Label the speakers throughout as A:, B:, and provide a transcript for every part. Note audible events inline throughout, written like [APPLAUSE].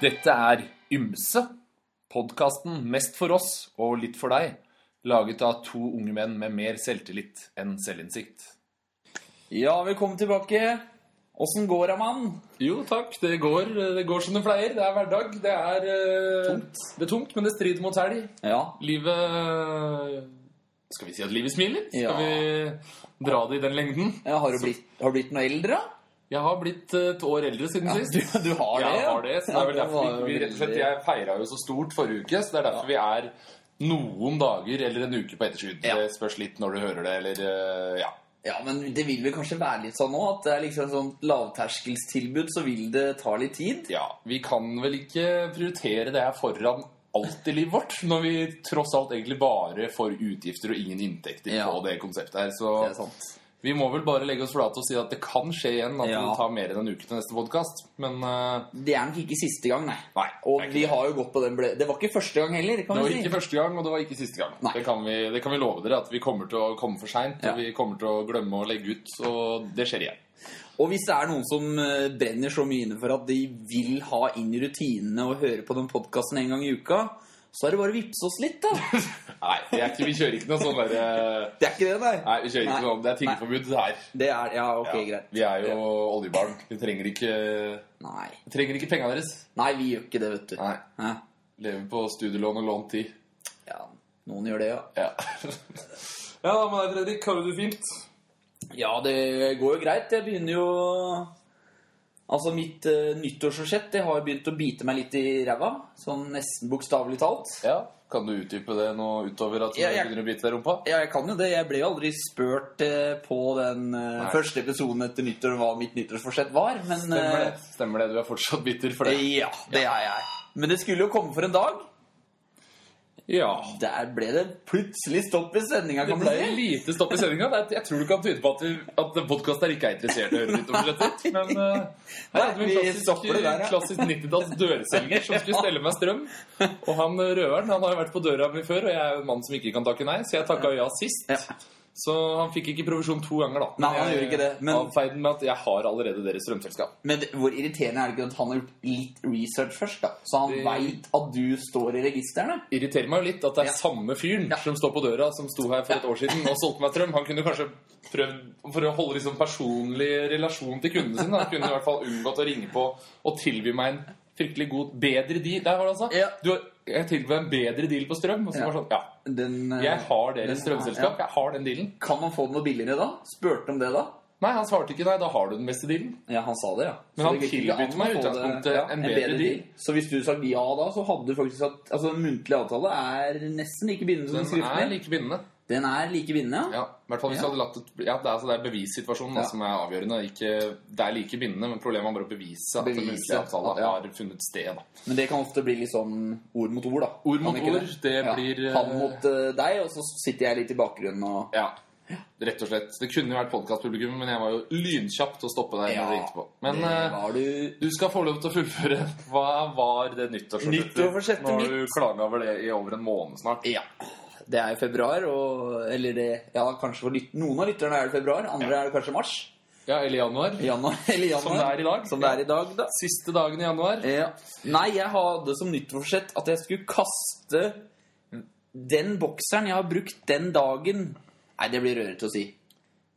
A: Dette er Ymse, podkasten mest for oss og litt for deg, laget av to unge menn med mer selvtillit enn selvinnsikt.
B: Ja, velkommen tilbake. Åssen går det, mann?
C: Jo takk, det går, det går som det pleier. Det er hverdag. Det er, eh,
B: Tungt.
C: det er tungt, men det strider mot helg.
B: Ja.
C: Livet eh, Skal vi si at livet smiler?
B: Ja.
C: Skal vi dra det i den lengden?
B: ja har, du blitt, har du blitt noe eldre? da?
C: Jeg har blitt eh, et år eldre siden sist.
B: du, du har det?
C: jeg
B: ja.
C: har det, så det er vel
B: Ja,
C: derfor
B: var
C: vi, vi rett og slett,
B: veldig-
C: Jeg feira jo så stort forrige uke, så det er derfor vi er noen dager eller en uke på etterskudd.
B: Ja.
C: Det spørs litt når du hører det, eller eh, Ja.
B: Ja, men det vil vel kanskje være litt sånn nå at det er liksom et sånt lavterskelstilbud, så vil det ta litt tid?
C: ja. Vi kan vel ikke prioritere det her foran alt i livet vårt, når vi tross alt egentlig bare får utgifter og ingen inntekter
B: Ja.
C: på det konseptet her.
B: Det er
C: Så
B: sant.
C: vi må vel bare legge oss flate og si at det kan skje igjen at
B: Ja.
C: det tar mer enn en uke til neste podkast. Men eh,
B: Det er nok ikke siste gang, nei.
C: nei.
B: Og
C: det er ikke
B: vi
C: det.
B: har jo gått på den ble... Det var ikke første gang heller, kan
C: Det var
B: vi si.
C: ikke første gang, og det var ikke siste gang.
B: Nei.
C: Det kan, vi, det kan vi love dere, at vi kommer til å komme for seint.
B: Ja.
C: Og vi kommer til å glemme å legge ut, og det skjer igjen.
B: Og hvis det er noen som eh, brenner så mye inne for at de vil ha inn i rutinene og høre på den podkasten en gang i uka, så er det bare å vippse oss litt,
C: [LAUGHS]
B: da.
C: Nei, det er ikke, vi kjører ikke noe sånn derre
B: Det er ikke det, nei.
C: Nei, vi kjører ikke
B: Nei.
C: noe sånn. Det
B: Nei.
C: er tingforbud her.
B: Det er Ja, ok,
C: Ja,
B: greit.
C: Vi er jo oljebarn. Vi trenger ikke,
B: Nei.
C: trenger ikke pengene deres.
B: nei, vi gjør ikke det, vet du.
C: Nei.
B: Hæ?
C: Lever på studielån og lånt tid.
B: Ja, noen gjør det, ja.
C: Ja. ja, men nei, Fredrik, har du det fint?
B: Ja, det går jo greit. Jeg begynner jo Altså, mitt uh, nyttårsforsett det har jo begynt å bite meg litt i ræva. Sånn nesten bokstavelig talt.
C: Ja. Kan du utdype det nå utover at du
B: Ja, jeg-
C: begynner å bite deg i rumpa?
B: Ja, jeg kan jo det. Jeg ble jo aldri spurt eh, på den eh,
C: Nei.
B: første episoden etter nyttår hva mitt nyttårsforsett var, men
C: Stemmer det.
B: eh,
C: Stemmer det. Du er fortsatt bitter for det?
B: Ja, det er jeg. Men det skulle jo komme for en dag.
C: Eh, Ja.
B: Der ble det plutselig stopp i sendinga,
C: Det
B: kan
C: ble
B: man
C: et
B: si.
C: lite stopp i sendinga. Jeg tror du kan tyde på at, vi- at podkasten her ikke er interessert i å høre litt om budsjettet. Men eh, her hadde vi
B: Nei, vi
C: en
B: stopper
C: klassisk,
B: det der, ja.
C: klassisk 90-talls dørselger som skulle stelle meg strøm. Og han eh, røveren han har jo vært på døra mi før, og jeg er jo en mann som ikke kan takke nei, så jeg takka ja sist.
B: Ja.
C: Så han fikk ikke provisjon to ganger, da.
B: Nei, han gjorde ikke det, men-
C: Avfeide med at jeg har allerede deres strømselskap.
B: Men det- hvor irriterende er det ikke at han har gjort litt research først, da? Så han
C: Det-
B: veit at du står i registrene?
C: Irriterer meg jo litt at det er
B: Ja.
C: samme fyren som står på døra, som sto her for et år siden og solgte meg strøm. Han kunne kanskje prøvd for å holde liksom personlig relasjon til kundene sine. da. Han kunne i hvert fall unngått å ringe på og tilby meg en fryktelig god bedre deal. Der var det altså.
B: Ja.
C: Du, jeg tilbød en bedre deal på strøm. Og så
B: Ja.
C: var det sånn, ja,
B: Den, eh,
C: jeg har
B: den-
C: deres strømselskap. Jeg har den dealen.
B: Ja. Kan man få den noe billigere da? Spurte om det da?
C: Nei, han svarte ikke nei. Da har du den beste dealen.
B: Ja, han sa det, ja.
C: Men
B: Så
C: han
B: det gikk ikke
C: tilbød
B: an å
C: meg i
B: få det-
C: utgangspunktet en bedre deal.
B: Så hvis du sa ja da, så hadde du faktisk hatt Altså, muntlig avtale er nesten like bindende som den
C: Den er
B: skriftlig.
C: like bindende.
B: Den er like bindende, ja.
C: Ja, i hvert fall hvis
B: Ja.
C: du hadde latt det, ja, det, er, altså, det er bevissituasjonen da,
B: Ja.
C: som er avgjørende. Ikke, det er like bindende, men problemet er bare å bevise at
B: Bevise,
C: den muntlige avtalen
B: ja.
C: har funnet sted. Da.
B: Men det kan ofte bli litt sånn ord mot ord, da.
C: Ord
B: Kan
C: mot
B: ikke
C: ord, det blir, eh,
B: Han mot eh, deg, og så sitter jeg litt i bakgrunnen og
C: Ja, rett og slett. Det kunne jo vært podkastpublikum, men jeg var jo lynkjapp til å stoppe deg. når du ringte på. Men
B: det
C: eh,
B: var du
C: du skal få lov til å fullføre. Hva var det nyttårsforsettet?
B: Nyttårsforsettet
C: Nå har du klaga over det i over en måned snart.
B: Ja. Det er jo februar, og Eller det Ja, kanskje for lyt- noen av lytterne er det februar, andre er det kanskje mars.
C: Ja, eller januar.
B: Januar, [LAUGHS] eller januar.
C: Som det er i dag.
B: Som det er i dag, da.
C: Siste dagen i januar.
B: Ja. Nei, jeg hadde som nyttårsforsett at jeg skulle kaste den bokseren jeg har brukt den dagen. Nei, det blir rørete å si.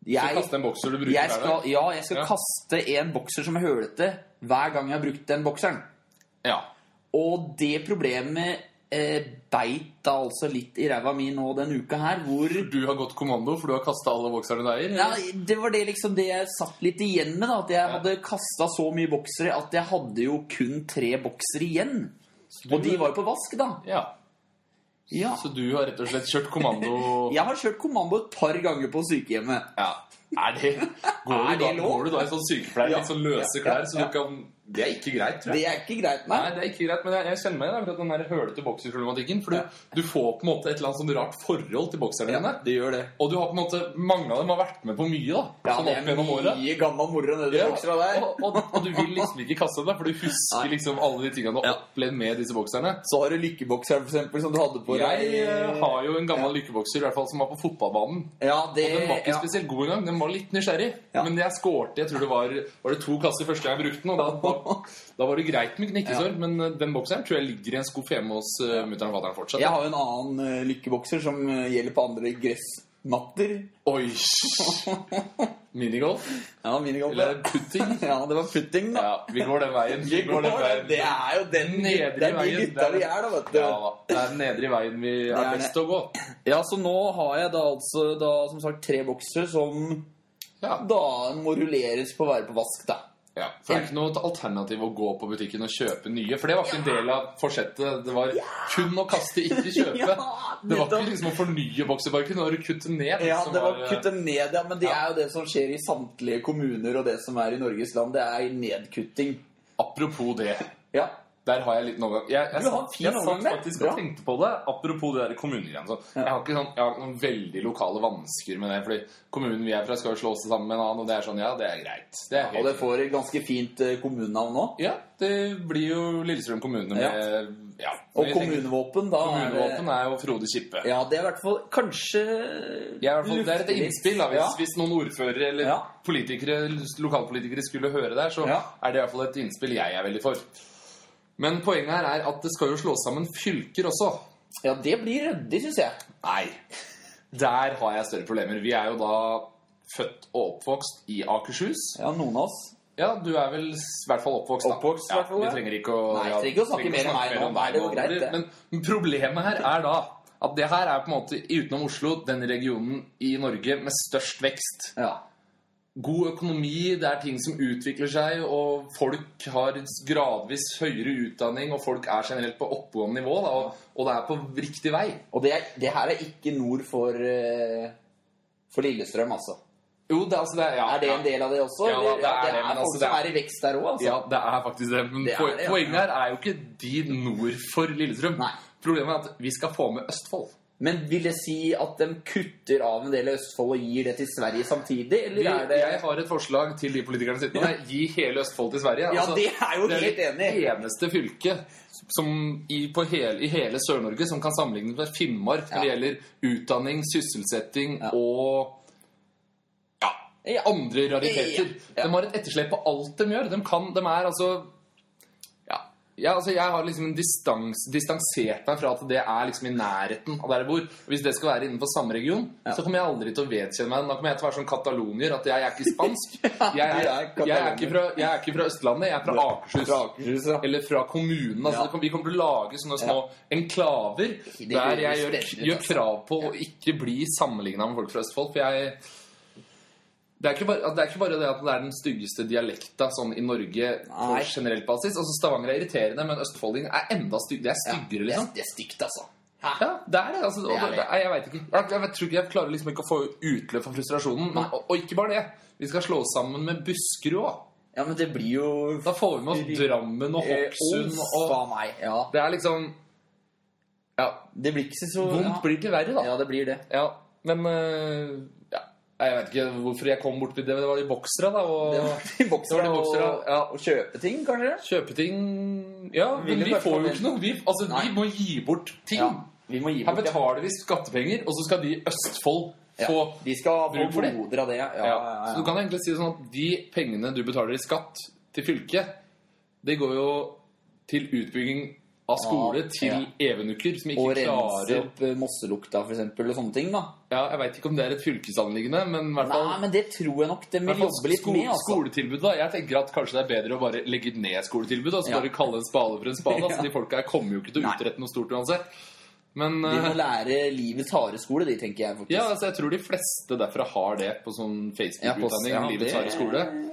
C: Jeg,
B: Jeg,
C: kaste en bokser du bruker
B: jeg
C: hver dag.
B: skal, ja, jeg skal
C: Ja.
B: kaste en bokser som er hølete, hver gang jeg har brukt den bokseren.
C: Ja.
B: Og det problemet eh, beit da altså litt i ræva mi nå den uka her, hvor
C: Du har gått kommando, for du har kasta alle bokserne du eier.
B: ja, Det var det liksom det jeg satt litt igjen med, da. At jeg
C: Ja.
B: hadde kasta så mye boksere at jeg hadde jo kun tre boksere igjen. Og de var jo på vask, da.
C: ja.
B: Ja.
C: Så du har rett og slett kjørt
B: [LAUGHS]
C: kommando
B: Jeg har kjørt kommando et par ganger på sykehjemmet.
C: Ja. Er det Går,
B: Er
C: du, da,
B: det lov?
C: går du da i sånn sykepleier,
B: Ja.
C: litt sånn løse
B: Ja,
C: klær,
B: ja,
C: så du kan Det er ikke greit, tror
B: Det
C: jeg.
B: er ikke greit,
C: Nei,
B: nei.
C: det er ikke greit, men jeg, jeg kjenner meg igjen i akkurat den der hølete bokserproblematikken. For
B: Ja.
C: du, du får på en måte et eller annet sånn rart forhold til bokserne dine.
B: det gjør det.
C: Og du har på en måte, mange av dem har vært med på mye, da.
B: Ja,
C: sånn
B: det
C: opp
B: er
C: gjennom året.
B: mye gammel moro nedi
C: Ja,
B: boksera der.
C: og, og, og du vil liksom ikke kaste deg, for du
B: Nei.
C: husker liksom alle de tingene du har opplevd med disse bokserne.
B: Så har du lykkebokseren, for eksempel, som du hadde på
C: Jeg
B: deg.
C: eh, har jo en gammel lykkebokser i hvert fall som var på fotballbanen.
B: Ja, det
C: Den var
B: Eh,
C: ikke
B: ja.
C: spesielt god engang. Den var litt nysgjerrig.
B: Ja.
C: Men jeg skårte jeg tror det var, var det to kasser første gang jeg brukte den, og da, da
B: [LAUGHS]
C: da var det greit med gnikkesår, men eh, den bokseren tror jeg ligger i en skuff hjemme hos uh, mutter'n og fatter'n fortsatt.
B: Jeg har jo en annen eh, lykkebokser som eh, gjelder på andre gressmatter.
C: Oi!
B: [LAUGHS]
C: Minigolf?
B: Ja, minigolf.
C: Eller putting?
B: Ja, det var putting, da.
C: Ja, vi går den veien. Vi
B: Det
C: går den
B: går-
C: veien.
B: det er jo den
C: Nedre
B: Det er de
C: veien,
B: gutta
C: det er-
B: vi er, da, vet du.
C: Ja da. Det er nedre i veien vi
B: er
C: er
B: det.
C: best til å gå.
B: Ja, så nå har jeg da altså da, som sagt tre bokser som
C: Ja.
B: da må rulleres på å være på vask, da.
C: Ja, for Det er ikke noe alternativ å gå på butikken og kjøpe nye. For det var ikke en del av forsettet. Det var kun å kaste, ikke kjøpe.
B: [LAUGHS] Ja,
C: det var
B: nettopp.
C: ikke liksom å fornye bokseparken, det var å kutte ned.
B: Ja,
C: som
B: det var
C: var- eh,
B: kutte ned, ja, men det
C: Ja.
B: er jo det som skjer i samtlige kommuner og det som er i Norges land. Det er nedkutting.
C: Apropos det.
B: Ja.
C: Der har jeg en liten overgang. Jeg, jeg,
B: Du har en
C: satt-
B: fin
C: jeg satt
B: overgang der.
C: faktisk
B: Bra.
C: og tenkte på det. Apropos det der kommunegreiene. sånn. Jeg har ikke sånn, jeg har ikke noen veldig lokale vansker med det. Fordi kommunen vi er fra, skal jo slå seg sammen med en annen, og det er sånn Ja, det er greit. Det er
B: Og
C: helt
B: det får et ganske fint eh, kommunenavn nå.
C: Ja, det blir jo Lillestrøm kommune med Ja.
B: Og
C: jeg tenker-
B: kommunevåpen, da. er det-
C: Kommunevåpen er jo Frode Kippe.
B: Ja, det er i hvert fall kanskje
C: Jeg er i hvert fall, det er et
B: lufter litt.
C: innspill. Da,
B: Ja.
C: hvis, hvis noen ordførere eller
B: Ja.
C: politikere, lokalpolitikere skulle høre der, så
B: Ja.
C: er det i hvert fall et innspill jeg er veldig for. Men poenget her er at det skal jo slås sammen fylker også.
B: Ja, det blir ryddig, syns jeg.
C: Nei, der har jeg større problemer. Vi er jo da født og oppvokst i Akershus.
B: Ja, noen av oss.
C: Ja, du er vel s- i hvert fall oppvokst, da.
B: Oppvokst, i
C: ja,
B: hvert fall,
C: vi
B: ja.
C: trenger ikke å
B: Nei,
C: ja,
B: trenger ikke å snakke mer om meg nå.
C: om
B: Da er det jo
C: nå.
B: greit, det.
C: Men problemet her er da at det her er på en måte utenom Oslo den regionen i Norge med størst vekst.
B: Ja.
C: God økonomi, det er ting som utvikler seg, og folk har gradvis høyere utdanning, og folk er generelt på oppegående nivå, da, og, og det er på riktig vei.
B: Og det, er, det her er ikke nord for, eh, for Lillestrøm, altså.
C: Jo, det, er altså, det er, ja,
B: Er det en
C: ja.
B: del av det også?
C: Ja, da,
B: eller?
C: det er det,
B: det
C: men
B: er folk
C: altså, det
B: som
C: er-
B: er i vekst der òg, altså.
C: Ja, det er faktisk det. Men
B: Det er
C: poen-
B: det, ja.
C: poenget her er jo ikke de nord for Lillestrøm.
B: Nei.
C: Problemet er at vi skal få med Østfold.
B: Men vil det si at de kutter av en del i Østfold og gir det til Sverige samtidig?
C: Vi,
B: Eller er det
C: jeg har et forslag til de politikerne sittende. her. Gi hele Østfold til Sverige. Altså,
B: Ja, det er jo
C: det
B: helt
C: er
B: enig.
C: det eneste fylket som i, på hele, i hele Sør-Norge som kan sammenlignes med Finnmark når det
B: Ja.
C: gjelder utdanning, sysselsetting
B: Ja.
C: og ja,
B: Ja.
C: andre rariteter.
B: Ja.
C: De har et etterslep på alt de gjør. De, kan, de er altså ja, ja, altså Jeg har liksom en distans, distansert meg fra at det er liksom i nærheten av der jeg bor. Og Hvis det skal være innenfor samme region,
B: Ja.
C: så kommer jeg aldri til å vedkjenne meg den. Da kommer jeg til å være sånn katalonier at jeg er ikke
B: [LAUGHS]
C: spansk. Jeg er,
B: du er
C: jeg er, ikke, fra, jeg er ikke fra Østlandet, jeg er fra Akershus.
B: Fra Akershus, ja.
C: Eller fra kommunen. Altså,
B: Ja.
C: det kommer- Vi kommer til å lage sånne små enklaver
B: Det
C: der
B: høres
C: jeg gjør,
B: spennende ut,
C: gjør
B: altså.
C: krav på å ikke bli sammenligna med folk fra Østfold. For jeg det er, ikke bare, det er ikke bare det at det er den styggeste dialekta sånn i Norge på
B: Nei.
C: generell basis. Altså Stavanger er irriterende, men østfoldingen er enda styggere. Det er
B: Ja,
C: styggere,
B: det,
C: liksom.
B: er- det er stygt, altså.
C: Ja, det er det. Altså, og
B: Det er
C: det,
B: det.
C: Nei, jeg vet ikke. Jeg, jeg, vet- tror ikke jeg klarer liksom ikke å få utløp for frustrasjonen. Men,
B: Nei.
C: og, og ikke bare det. Vi skal slå oss sammen med Buskerud òg.
B: Ja, men det blir jo
C: Da får vi med oss Drammen og
B: Eh,
C: Hokksund
B: Ås,
C: og
B: faen meg. Ja.
C: Det er liksom Ja.
B: Det blir ikke så
C: Vondt
B: ja.
C: blir til verre, da.
B: ja, det blir det.
C: Ja, men øh, ja. Nei, Jeg vet ikke hvorfor jeg kom bort til det. men Det var de boksere, da. Og
B: Det var de boksere
C: Det var de
B: og,
C: boksere, ja.
B: og kjøpe ting, kanskje?
C: kjøpe ting Ja,
B: Vil
C: men
B: du
C: vi
B: kanskje
C: får
B: få
C: jo
B: det?
C: ikke noe. Vi, altså,
B: Nei.
C: vi må gi bort ting.
B: Ja, vi må gi
C: Her
B: bort. ja.
C: betaler vi skattepenger, og så skal de i Østfold
B: Ja.
C: få
B: De skal få
C: bruk for det.
B: goder av det. Ja, ja,
C: ja.
B: ja,
C: Så du kan egentlig si det sånn at de pengene du betaler i skatt til fylket, det går jo til utbygging av skole,
B: Ja,
C: til evenukker som
B: Og
C: ikke
B: rense
C: klarer
B: opp eh, mosselukta, for eksempel, og sånne ting, da.
C: Ja, jeg veit ikke om det er et fylkesanliggende, men i hvert fall
B: Nei, men det tror jeg nok de
C: i hvert
B: vil
C: fall
B: jobbe litt
C: sko-
B: med, altså.
C: Skoletilbud, da. Jeg tenker at kanskje det er bedre å bare legge ned skoletilbud, og så
B: Ja.
C: bare kalle en spade for en
B: [LAUGHS]
C: spade. Altså,
B: Ja.
C: de folka her kommer jo ikke til å
B: Nei.
C: utrette noe stort uansett. Men
B: De må
C: eh,
B: lære livets harde skole, de, tenker jeg faktisk.
C: ja, altså, jeg tror de fleste derfra har det på sånn
B: Ja, på-
C: Facebook-utdanning.
B: ja,
C: livets
B: det-
C: harde skole.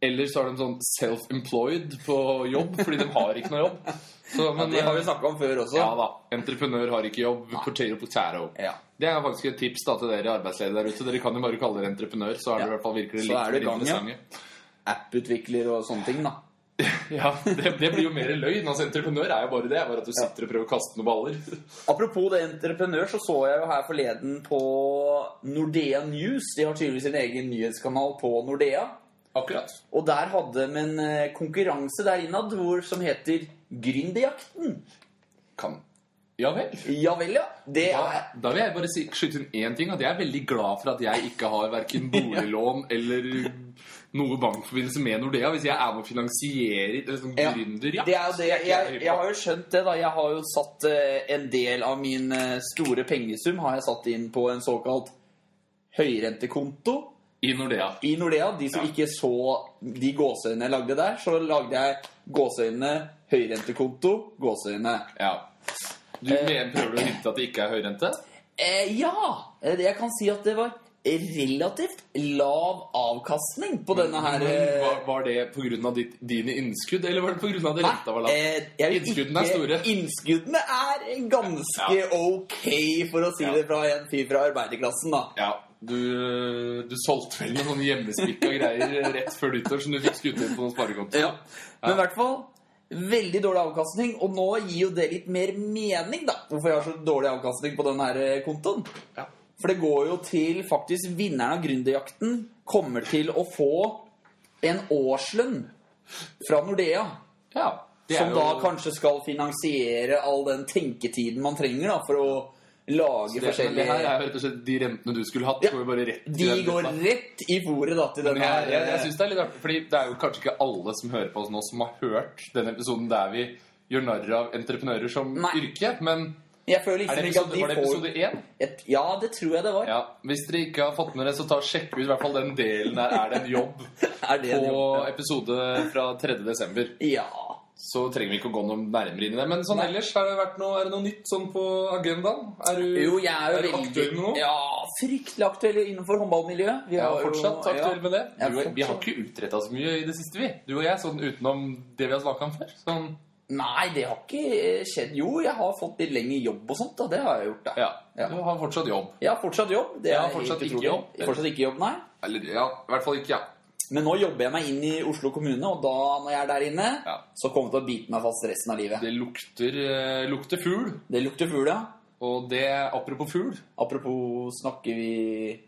C: Eller så er de sånn self-employed på jobb, fordi de har ikke noe jobb. Så, men,
B: det har vi
C: eh,
B: snakka om før også.
C: ja da. Entreprenør har ikke jobb. Portero portero.
B: Ja.
C: Det er faktisk et tips da til dere arbeidsledige der ute. Dere kan jo bare kalle dere entreprenør, så er det
B: Ja.
C: i hvert fall virkelig
B: Så
C: litt
B: er det i
C: mer
B: gang, ja.
C: interessante.
B: App-utvikler og sånne ting, da.
C: Ja, det, det blir jo mer løgn. Altså, entreprenør er jo bare det. Bare at du sitter og prøver å kaste noen baller.
B: Apropos det entreprenør, så så jeg jo her forleden på Nordea News. De har tydeligvis sin egen nyhetskanal på Nordea.
C: Akkurat.
B: Og der hadde de en eh, konkurranse der innad hvor, som heter Gründerjakten.
C: Kan Ja vel.
B: Ja vel, ja. Det
C: Da,
B: er
C: da vil jeg bare si, skyte inn én ting. At jeg er veldig glad for at jeg ikke har
B: [LAUGHS]
C: verken boliglån eller noe bankforbindelse med Nordea. Hvis jeg er med og finansierer eller sånn
B: Ja,
C: gründer, ja.
B: Det er jo det. Jeg, jeg, har jo skjønt det, da. Jeg har jo satt eh, en del av min eh, store pengesum har jeg satt inn på en såkalt høyrentekonto
C: I Nordea.
B: i Nordea. De som ikke så de gåseøynene jeg lagde der, så lagde jeg gåseøynene høyrentekonto, gåseøyne.
C: Ja. Du mener, prøver du å hinte at det ikke er høyrente?
B: Eh, ja! Eh, Jeg kan si at det var relativt lav avkastning på denne her eh,
C: Var, var det pga. dine innskudd, eller var det pga. det
B: Nei,
C: renta var lav?
B: eh, jeg vil
C: Innskuddene er
B: ikke-
C: store.
B: Innskuddene er ganske
C: Ja.
B: ok, for å si
C: Ja.
B: det fra en fyr fra arbeiderklassen, da.
C: Ja, du, du solgte vel noen sånne hjemmespikka greier rett før nyttår som du fikk skutt inn på noen sparekonto.
B: Men i hvert fall veldig dårlig avkastning, og nå gir jo det litt mer mening, da. Hvorfor jeg har så dårlig avkastning på den her eh, kontoen.
C: Ja.
B: For det går jo til faktisk vinneren av gründerjakten kommer til å få en årslønn fra Nordea.
C: Ja, det er
B: Som
C: jo-
B: da kanskje skal finansiere all den tenketiden man trenger da, for å lage
C: det, men det
B: forskjellige
C: her er jo rett og slett de rentene du skulle hatt,
B: Ja.
C: går jo bare rett til
B: De
C: den
B: går
C: lista.
B: rett i bordet da, til
C: Men
B: denne
C: Jeg, jeg, jeg
B: her, eh,
C: synes det er litt artig, fordi det er jo kanskje ikke alle som hører på oss nå, som har hørt den episoden der vi gjør narr av entreprenører som
B: Nei.
C: yrke. Men
B: eh, Jeg føler
C: er
B: liksom
C: det
B: ikke at
C: episode,
B: de
C: var det
B: får
C: episode én?
B: et, Ja, det tror jeg det var.
C: Ja. Hvis dere ikke har fått med dere, så ta og sjekk ut i hvert fall den delen der. Er det en jobb?
B: Er [LAUGHS] det en
C: På
B: jobb?
C: episode fra 3. desember.
B: Ja.
C: Så trenger vi ikke å gå noe nærmere inn i det. Men sånn
B: Nei.
C: ellers, har det vært noe, er det noe nytt sånn på agendaen? Er du,
B: Jo, jeg er jo
C: er du aktuell med noe?
B: veldig Ja, fryktelig aktuell innenfor håndballmiljøet. Vi
C: Jeg
B: har
C: er
B: jo-
C: fortsatt aktuell med det.
B: Jeg er
C: Du, vi har
B: fortsatt-
C: ikke utretta så mye i det siste, vi. Du og jeg, sånn utenom det vi har snakka om før. Sånn,
B: Nei, det har ikke eh, skjedd. Jo, jeg har fått litt lengre jobb og sånt, da. Det har jeg gjort, da.
C: ja.
B: Ja.
C: Du har fortsatt jobb.
B: Jeg har fortsatt jobb. Det
C: Jeg har
B: er
C: fortsatt
B: helt
C: ikke
B: utrolig.
C: jobb.
B: Fortsatt ikke jobb, nei.
C: Eller ja, i hvert fall ikke ja.
B: Men nå jobber jeg meg inn i Oslo kommune, og da, når jeg er der inne,
C: Ja.
B: så kommer jeg til å bite meg fast resten av livet.
C: Det lukter, eh, lukter fugl.
B: Det lukter fugl, ja.
C: Og det Apropos fugl.
B: Apropos, snakker vi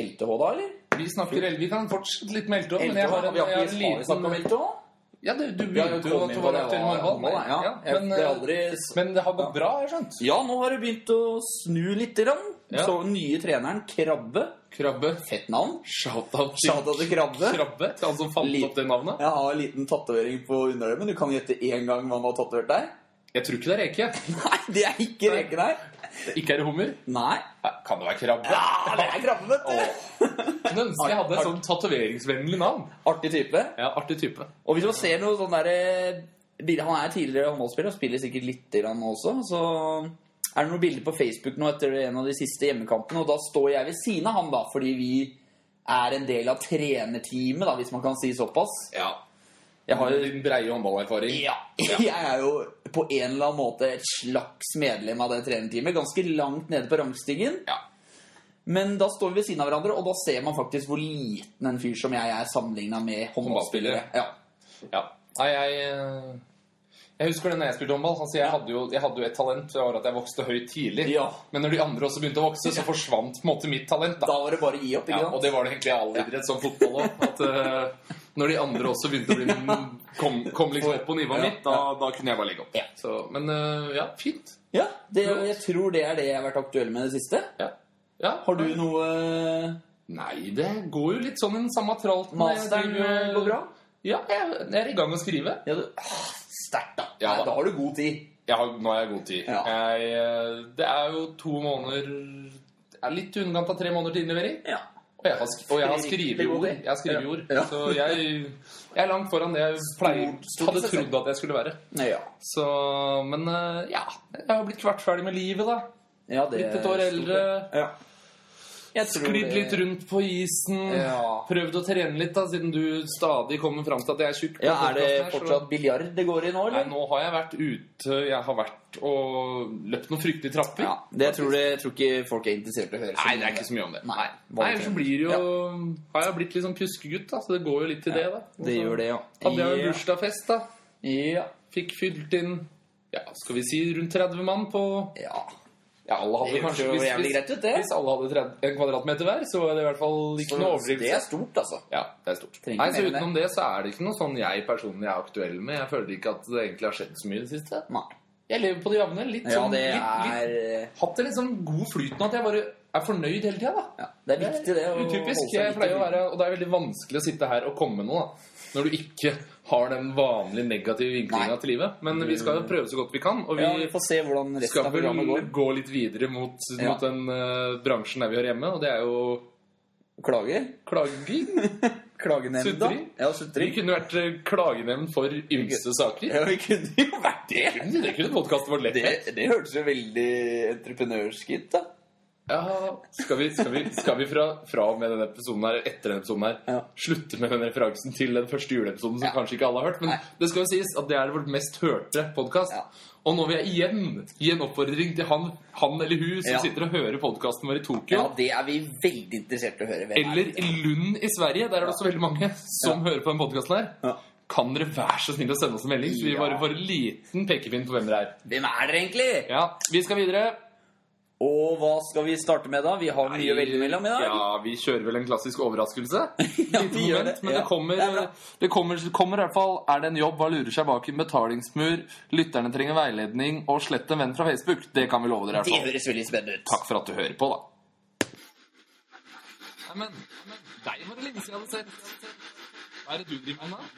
B: LTH da, eller?
C: Vi snakker el- Vi kan fortsette litt med LTH,
B: LTH,
C: men jeg har en,
B: vi
C: jeg
B: har
C: har
B: ikke
C: en
B: har vi snakket om
C: liten
B: LTH?
C: Ja, du, du
B: Vi har jo
C: begynte jo
B: kommet
C: at
B: inn
C: du
B: på
C: var
B: det,
C: aktuell
B: ja,
C: med håndball.
B: ja.
C: Ja,
B: Jeg-
C: men,
B: det er
C: eh,
B: aldri s-
C: men det har gått bra, har jeg skjønt.
B: Ja, nå har det begynt å snu litt. Rann.
C: Ja.
B: Så den nye treneren, Krabbe
C: Krabbe.
B: Fett navn.
C: Shout-out til
B: Shoutout til Krabbe.
C: Krabbe, til han som fant
B: Litt.
C: opp det navnet.
B: Jeg har en liten tatovering på underarmen. Du kan gjette én gang hva han har tatovert der. [LAUGHS]
C: Jeg tror ikke det er reke.
B: Nei, det er ikke
C: Nei.
B: reken her.
C: Ikke er det hummer.
B: Nei.
C: Nei, Kan det være krabbe?
B: Ja, det er Krabbe, vet du.
C: Kunne ønske jeg hadde et sånn tatoveringsvennlig navn.
B: Artig type.
C: Ja, Artig type.
B: Og hvis man ser noe sånn der eh, bilder- Han er tidligere håndballspiller og spiller sikkert litt grann også. Så er det noen bilder på Facebook nå etter en av de siste hjemmekampene, og da står jeg ved siden av han, da, fordi vi er en del av trenerteamet, da, hvis man kan si såpass.
C: Ja.
B: Jeg har jo
C: Din breie håndballerfaring.
B: ja, [LAUGHS] jeg er jo på en eller annen måte et slags medlem av det trenerteamet. Ganske langt nede på rangstigen.
C: Ja.
B: Men da står vi ved siden av hverandre, og da ser man faktisk hvor liten en fyr som jeg er sammenligna med håndballspillere. Ja.
C: Ja. Nei, jeg eh, Jeg husker det når jeg spilte håndball. Altså, jeg, hadde jo, jeg hadde jo et talent. Det var at jeg vokste høyt tidlig.
B: Ja.
C: Men når de andre også begynte å vokse, så forsvant på en måte mitt talent.
B: Da
C: da.
B: var det bare å gi opp. ikke
C: Ja,
B: sant?
C: og det var det egentlig i all idrett, som fotball òg. At eh, når de andre også begynte å bli [LAUGHS] kom, kom liksom opp på nivået
B: Ja.
C: mitt, da, da kunne jeg bare legge opp.
B: Ja.
C: Så, men eh, ja, fint.
B: Ja, det, jeg tror det er det jeg har vært aktuell med i det siste.
C: Ja. ja.
B: Har du noe
C: Nei, det går jo litt sånn i den samme tralten.
B: eh, Masteren
C: Jeg driver-
B: går bra?
C: Ja, jeg, jeg er i gang med å skrive.
B: Ja, du, ah, Sterkt, da.
C: Ja,
B: Nei,
C: da.
B: da har du god tid.
C: Jeg har, nå har jeg god tid.
B: Ja.
C: Jeg, eh, det er jo to måneder det er Litt i underkant av tre måneder til innlevering.
B: Ja.
C: Og jeg har, sk- og jeg har skriveord.
B: Riktig god tid.
C: Jeg har skriveord.
B: Ja. Ja.
C: Så jeg, jeg er langt foran det jeg pleier,
B: stor
C: hadde
B: sesong.
C: trodd at jeg skulle være.
B: Ja,
C: Så, men eh, ja Jeg har blitt kvart ferdig med livet, da.
B: ja det
C: Blitt et år
B: er stort,
C: eldre.
B: det. Ja. Jeg tror
C: Sklidd
B: det-
C: litt rundt på isen.
B: Ja.
C: Prøvd å trene litt, da, siden du stadig kommer fram til at jeg er tjukk. på
B: Ja, Er det
C: podcasten her, så-
B: fortsatt biljard det går i nå,
C: Nei,
B: eller?
C: nå har jeg vært ute. Jeg har vært og løpt noen fryktelige trapper.
B: Ja, det tror jeg, jeg tror ikke folk er interessert i å høre. så
C: Nei, det
B: mye
C: er ikke så mye om det.
B: Nei,
C: Nei, ellers så blir det jo Har jeg blitt litt sånn pjuskegutt, da, så det går jo litt til det, da.
B: Det gjør det, ja.
C: Hadde jeg jo bursdagsfest, da.
B: Ja.
C: Fikk fylt inn ja, skal vi si rundt 30 mann på
B: ja.
C: Ja, alle
B: Det
C: hadde
B: høres
C: kanskje
B: jo
C: hvis,
B: jævlig
C: hvis,
B: greit ut, det.
C: hvis alle hadde 30, en kvadratmeter hver, så var det i hvert fall ikke noe
B: Så det er
C: overdrivelse.
B: stort, altså.
C: Ja, det er stort.
B: Trenger
C: Nei, så
B: mer enn
C: Utenom det så er det ikke noe sånn jeg personlig er aktuell med. Jeg føler ikke at det egentlig har skjedd så mye i det siste.
B: Nei.
C: Jeg lever på det jevne. Litt
B: Ja,
C: sånn
B: det
C: litt, litt,
B: er eh,
C: Hatt det litt sånn god flyt nå at jeg bare er fornøyd hele tida, da.
B: ja, Det er viktig, det. å
C: Utypisk.
B: holde seg
C: Jeg
B: litt
C: pleier å
B: i-
C: være, og det er veldig vanskelig å sitte her og komme med noe, da. Når du ikke har den vanlige negative vinklinga
B: Nei.
C: til livet. Men vi skal jo prøve så godt vi kan, og vi
B: Ja, vi får se hvordan resten
C: skal
B: av
C: vel
B: programmet går.
C: gå litt videre mot,
B: Ja.
C: mot den eh, bransjen der vi hører hjemme, og det er jo
B: Klager?
C: klaging.
B: [LAUGHS] Klagenemnda?
C: Sutring?
B: Ja,
C: Vi
B: sutring.
C: kunne vært eh, klagenemnd for ymse saker.
B: Ja, vi kunne jo vært det!
C: Det kunne podkasten vår lett
B: Det,
C: med.
B: det hørtes jo veldig entreprenørsk ut, da.
C: Ja, skal vi, skal vi, skal vi fra, fra og med denne episoden her, etter denne episoden her,
B: Ja.
C: slutte med den referansen til den første juleepisoden som
B: Ja.
C: kanskje ikke alle har hørt? Men
B: Nei.
C: det skal jo sies at det er vårt mest hørte podkast.
B: Ja.
C: Og nå vil jeg igjen gi en oppfordring til han, han eller hun som
B: Ja.
C: sitter og hører podkasten vår i Tokyo.
B: Ja, det er vi veldig interessert i å høre. Hvem er
C: Eller
B: det?
C: i Lund i Sverige, der er det også veldig mange som hører på den podkasten her.
B: Ja.
C: Kan dere være så snill å sende oss en melding, så vi
B: Ja.
C: bare får en liten pekepinn på hvem dere er?
B: Hvem er dere egentlig?
C: Ja, Vi skal videre.
B: Og hva skal vi starte med, da? Vi har mye å velge mellom i dag.
C: Ja, Vi kjører vel en klassisk overraskelse.
B: [LAUGHS] Ja,
C: Lite moment, Men
B: Ja,
C: det kommer,
B: det er bra.
C: det, kommer, kommer i hvert fall Er det en jobb, hva lurer seg bak en betalingsmur Lytterne trenger veiledning Og slett en venn fra Facebook, det kan vi love dere i
B: Det
C: hvert fall
B: høres veldig spennende ut.
C: Takk for at du hører på da Nei, men, deg var det lenge siden jeg hadde sett Hva er det du driver med da?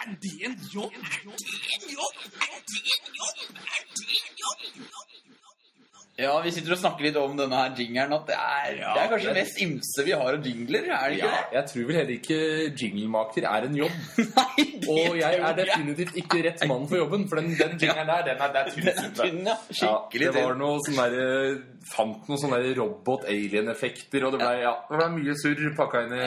C: Er det en jobb?
B: Ja, vi sitter og snakker litt om denne her jingeren. At det er, det er kanskje det
C: det-
B: mest ymse vi har av jingler, er det ikke det?
C: jeg tror vel heller ikke jinglemaker er en jobb [LAUGHS]
B: Nei, det [LAUGHS]
C: Og jeg er
B: tror
C: definitivt ikke rett mann for jobben For den, den jingeren der, den er, det er
B: Den er
C: tusen
B: tynn, ja. Skikkelig
C: ja, det var
B: tynn.
C: noe sånn der, Fant noen sånne der robot-alien-effekter, og det ble, ja, det ble mye surr pakka inn i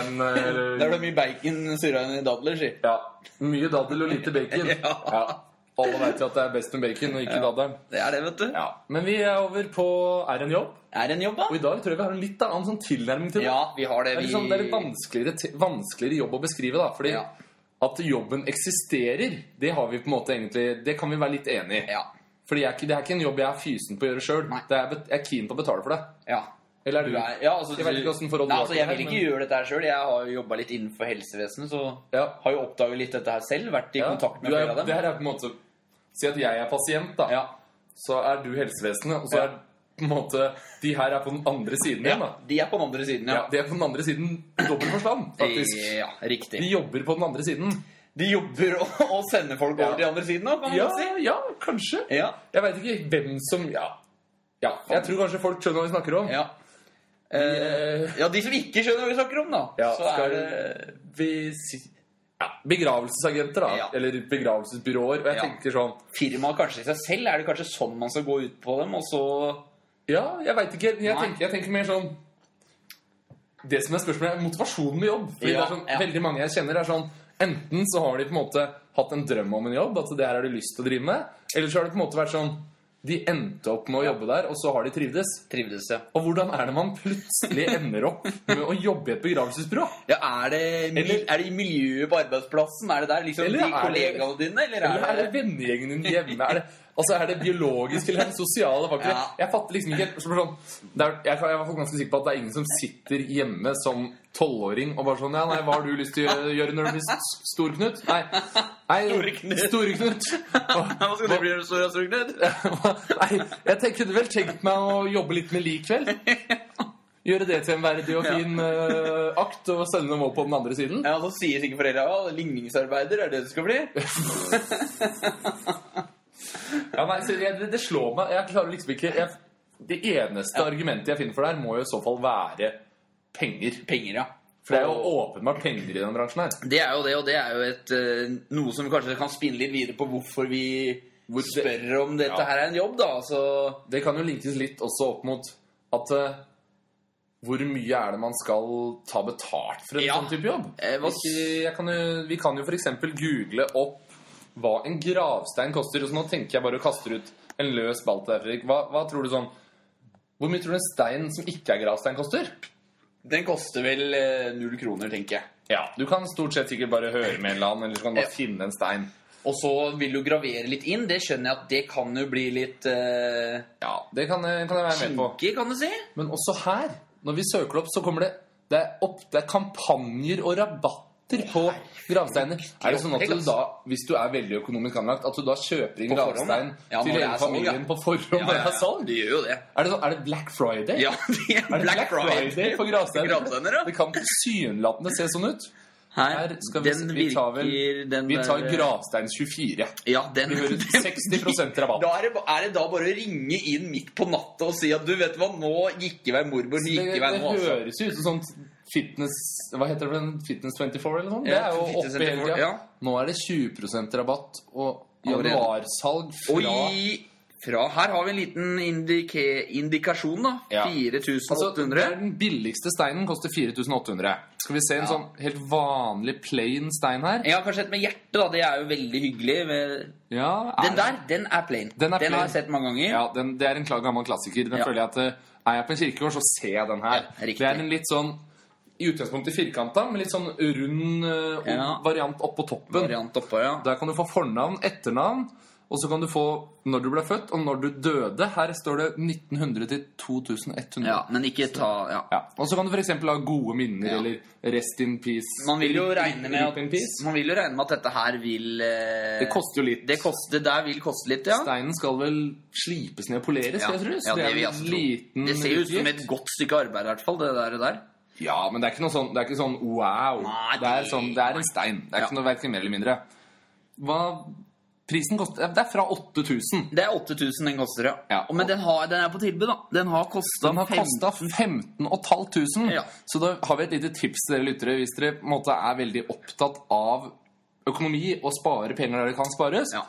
C: en
B: [LAUGHS]
C: eh,
B: Der ble mye bacon surra inn i dadler, si.
C: Ja. Mye daddel og lite bacon.
B: [LAUGHS] Ja.
C: Ja. Alle veit jo at det er best med bacon og ikke daddelen.
B: Det er det, vet du.
C: Ja. Men vi er over på Er en jobb,
B: Er det en jobb,
C: og
B: da?
C: i dag tror jeg vi har en litt annen sånn tilnærming til det.
B: Ja, vi har det.
C: Det er,
B: Vi...
C: liksom, det er litt vanskeligere, te- vanskeligere jobb å beskrive, da. Fordi
B: Ja.
C: at jobben eksisterer, det har vi på en måte egentlig Det kan vi være litt enig i.
B: Ja.
C: Fordi jeg, er ikke- det er ikke en jobb jeg er fysen på å gjøre sjøl.
B: Nei.
C: Jeg er keen på å betale for det.
B: ja.
C: Eller er
B: Du
C: du?
B: er, ja altså,
C: Jeg vet ikke hvordan forhold du
B: Nei,
C: har
B: altså,
C: til
B: jeg
C: det her,
B: vil ikke
C: men-
B: gjøre dette her sjøl. Jeg har jo jobba litt innenfor helsevesenet, så
C: Ja.
B: har jo oppdaga litt dette her selv. Vært i
C: ja.
B: kontakt med
C: Du er,
B: flere av
C: Det
B: dem.
C: her er på en måte Si at jeg er pasient, da.
B: Ja.
C: Så er du helsevesenet, og så
B: Ja.
C: er på en måte De her er på den andre siden igjen,
B: Ja,
C: da.
B: de er på den andre siden,
C: Ja,
B: ja.
C: De er på den andre siden i dobbel forstand, faktisk.
B: Ja, riktig.
C: De jobber på den andre siden.
B: De jobber og, og sender folk over
C: Ja.
B: til andre siden, da, kan man
C: Ja,
B: si.
C: ja kanskje.
B: Ja.
C: Jeg veit ikke hvem som Ja. ja. Jeg tror kanskje folk skjønner hva vi snakker om.
B: Ja. Eh, ja, de som ikke skjønner hva vi snakker om, da.
C: Ja,
B: så
C: skal-
B: er det
C: Vi si... Ja, Begravelsesagenter, da.
B: Ja.
C: Eller begravelsesbyråer. Og jeg
B: Ja.
C: tenker sånn
B: firmaet kanskje i seg selv. Er det kanskje sånn man skal gå ut på dem, og så
C: Ja, jeg veit ikke. Jeg
B: Nei.
C: tenker, jeg tenker mer sånn Det som er spørsmålet, er motivasjonen med jobb. Fordi det
B: Ja,
C: er sånn,
B: ja.
C: Veldig mange jeg kjenner, er sånn Enten så har de på en måte hatt en drøm om en jobb, at det her har de lyst til å drive med. Eller så har det på en måte vært sånn De endte opp med å jobbe der, og så har de trivdes.
B: trivdes jeg?
C: Og hvordan er det man plutselig ender opp med å jobbe i et begravelsesbyrå?
B: Ja, er det,
C: Eller-
B: er det i miljøet på arbeidsplassen? Er det der liksom
C: Eller
B: de
C: er det-
B: kollegaene dine, eller er
C: Eller er det
B: det
C: vennegjengen din hjemme? Er det, altså, er det biologiske eller er det sosiale faktorer?
B: Ja.
C: Jeg fatter liksom ikke helt så sånn, det er, jeg, kan- jeg er ganske sikker på at det er ingen som sitter hjemme som tolvåring og bare sånn Ja, nei, hva har du lyst til å gjøre- gjøre når du blir s- stor, Knut? Nei. nei
B: Store Knut.
C: Store Knut.
B: Hva skal du bli når du står og sugner?
C: [LAUGHS] Nei, jeg tenk- kunne vel tenkt meg å jobbe litt med lik kveld. Gjøre det til en verdig og fin eh, akt og sende dem over på den andre siden.
B: Ja, så sier sikkert foreldra ja, ligningsarbeider er det du skal bli.
C: Ja, nei, så jeg, det, det slår meg Jeg klarer liksom ikke jeg, Det eneste argumentet jeg finner for det her, må jo i så fall være penger.
B: Penger, ja.
C: For det er jo åpenbart penger i denne bransjen her.
B: Det er jo det, og det er jo et, eh, noe som vi kanskje kan spinne litt videre på hvorfor vi
C: Hvor det-
B: spør om dette
C: Ja.
B: her er en jobb, da. Så
C: Det kan jo linkes litt også opp mot at eh, hvor mye er det man skal ta betalt for en
B: Ja.
C: sånn type jobb?
B: Eh, hva s-
C: Ikke- Jeg kan jo, vi kan jo f.eks. google opp hva en gravstein koster. Og så nå tenker jeg bare å kaste ut en løs ball til deg, Fredrik. Hva, hva tror du sånn Hvor mye tror du en stein som ikke er gravstein, koster?
B: den koster vel eh, null kroner, tenker jeg.
C: Ja, du kan stort sett sikkert bare høre med en eller annen, eller så kan du bare
B: Ja.
C: finne en stein.
B: Og så vil du gravere litt inn. Det skjønner jeg at det kan jo bli litt eh,
C: Ja, det kan, jeg- kan jeg være med på.
B: kinkig, kan du si.
C: Men også her, når vi søker det opp, så kommer det Det er, opp, det er kampanjer og rabatter rabatter på gravsteiner. Er det sånn at du da, hvis du er veldig økonomisk anlagt, at du da kjøper inn
B: På forhånd,
C: gravstein
B: ja. Ja,
C: til
B: når det
C: hele
B: er salg,
C: familien
B: ja.
C: på forhånd når det er salg?
B: De gjør jo det.
C: Er det, sånn, er det Black Friday?
B: Ja, [LAUGHS] de er
C: Er det
B: Black Friday
C: på gravsteiner?
B: gravsteiner, ja.
C: Det kan tilsynelatende se sånn ut. Her skal vi-
B: den
C: vi tar vel-
B: virker- den
C: Vi tar
B: der-
C: Gravstein 24.
B: Ja, den,
C: Vi hører 60
B: [LAUGHS]
C: rabatt.
B: Da er det, ba- er det da bare å ringe inn midt på natta og si at du vet hva, nå gikk i vei morbror, nå
C: Det,
B: gikk i vei
C: det
B: nå, altså.
C: høres jo ut som sånn fitness Hva heter det? Fitness 24 eller sånn? Det
B: Ja,
C: er jo
B: Fitness
C: oppe hele
B: 24,
C: tida.
B: ja.
C: Nå er det 20 rabatt og
B: Allerede.
C: januarsalg
B: Og
C: fra
B: i fra Her har vi en liten indike, indikasjon, da.
C: Ja. Altså, det
B: 4800.
C: er den billigste steinen koster 4800. Skal vi se en
B: Ja.
C: sånn helt vanlig plain stein her?
B: jeg har kanskje sett med hjertet, da. Det er jo veldig hyggelig. Med...
C: Ja, er
B: Den der, den er plain.
C: Den er plain.
B: har jeg sett mange ganger.
C: Ja, den, det er en kla- gammel klassiker. Den
B: Ja.
C: føler jeg at eh, Er jeg på en kirkegård, så ser jeg den her.
B: Ja, riktig.
C: det er en litt sånn i utgangspunktet firkanta, men litt sånn rund eh,
B: Ja.
C: variant oppå toppen.
B: Variant oppå, ja.
C: Der kan du få fornavn, etternavn, og så kan du få når du ble født, og når du døde. Her står det 1900 til 2100.
B: ja. Men ikke ta ja.
C: Ja. Og så kan du f.eks. ha gode minner
B: Ja.
C: eller Rest in peace.
B: Man vil jo
C: Rip-
B: regne med
C: rip in
B: at,
C: peace.
B: man vil jo regne med at dette her vil eh,
C: Det koster jo litt.
B: det koster, det der vil koste litt, ja.
C: Steinen skal vel slipes ned og poleres,
B: Ja,
C: jeg tror.
B: ja, det
C: er
B: vil jeg
C: en
B: også tro.
C: liten
B: Det ser jo ut som
C: utgift.
B: et godt stykke arbeid, i hvert fall. Det der. Det der.
C: Ja, men det er ikke noe sånn, det er ikke sånn wow.
B: Nei,
C: det, er sånn, det er en stein. Det er
B: Ja.
C: ikke noe hverken mer eller mindre. Hva prisen koster Det er fra 8000.
B: Det er 8000 den koster, ja.
C: Ja.
B: Men den, har, den er på tilbud, da. Den har kosta
C: Den har kosta 15500.
B: Ja.
C: Så da har vi et lite tips til dere lyttere hvis dere på en måte er veldig opptatt av økonomi og spare penger der det kan spares,
B: Ja.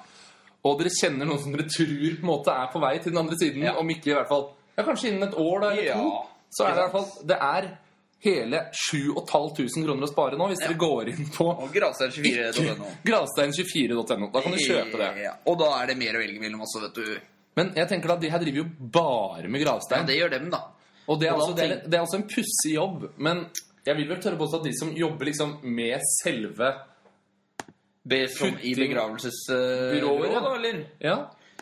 C: og dere kjenner noen som dere tror på en måte er på vei til den andre siden,
B: Ja.
C: om ikke i hvert fall ja, Kanskje innen et år da, eller
B: Ja.
C: to, så er det i hvert fall Det er hele 7500 kroner å spare nå hvis dere går inn på
B: Og Grasheim 24.no.
C: Gravstein24.no. Da kan du kjøpe det.
B: Ja, Og da er det mer å velge mellom også, vet du.
C: Men jeg tenker da, de her driver jo bare med
B: Ja,
C: gravstein.
B: det gjør dem, da.
C: Og det er
B: og da
C: altså, det er,
B: tenk-
C: det er også en pussig jobb. Men jeg vil vel tørre påstå at de som jobber liksom med selve
B: Be som i
C: Putting-
B: begravelsesbyrået,
C: Byrået,
B: da,
C: ja.
B: eller?
C: Ja,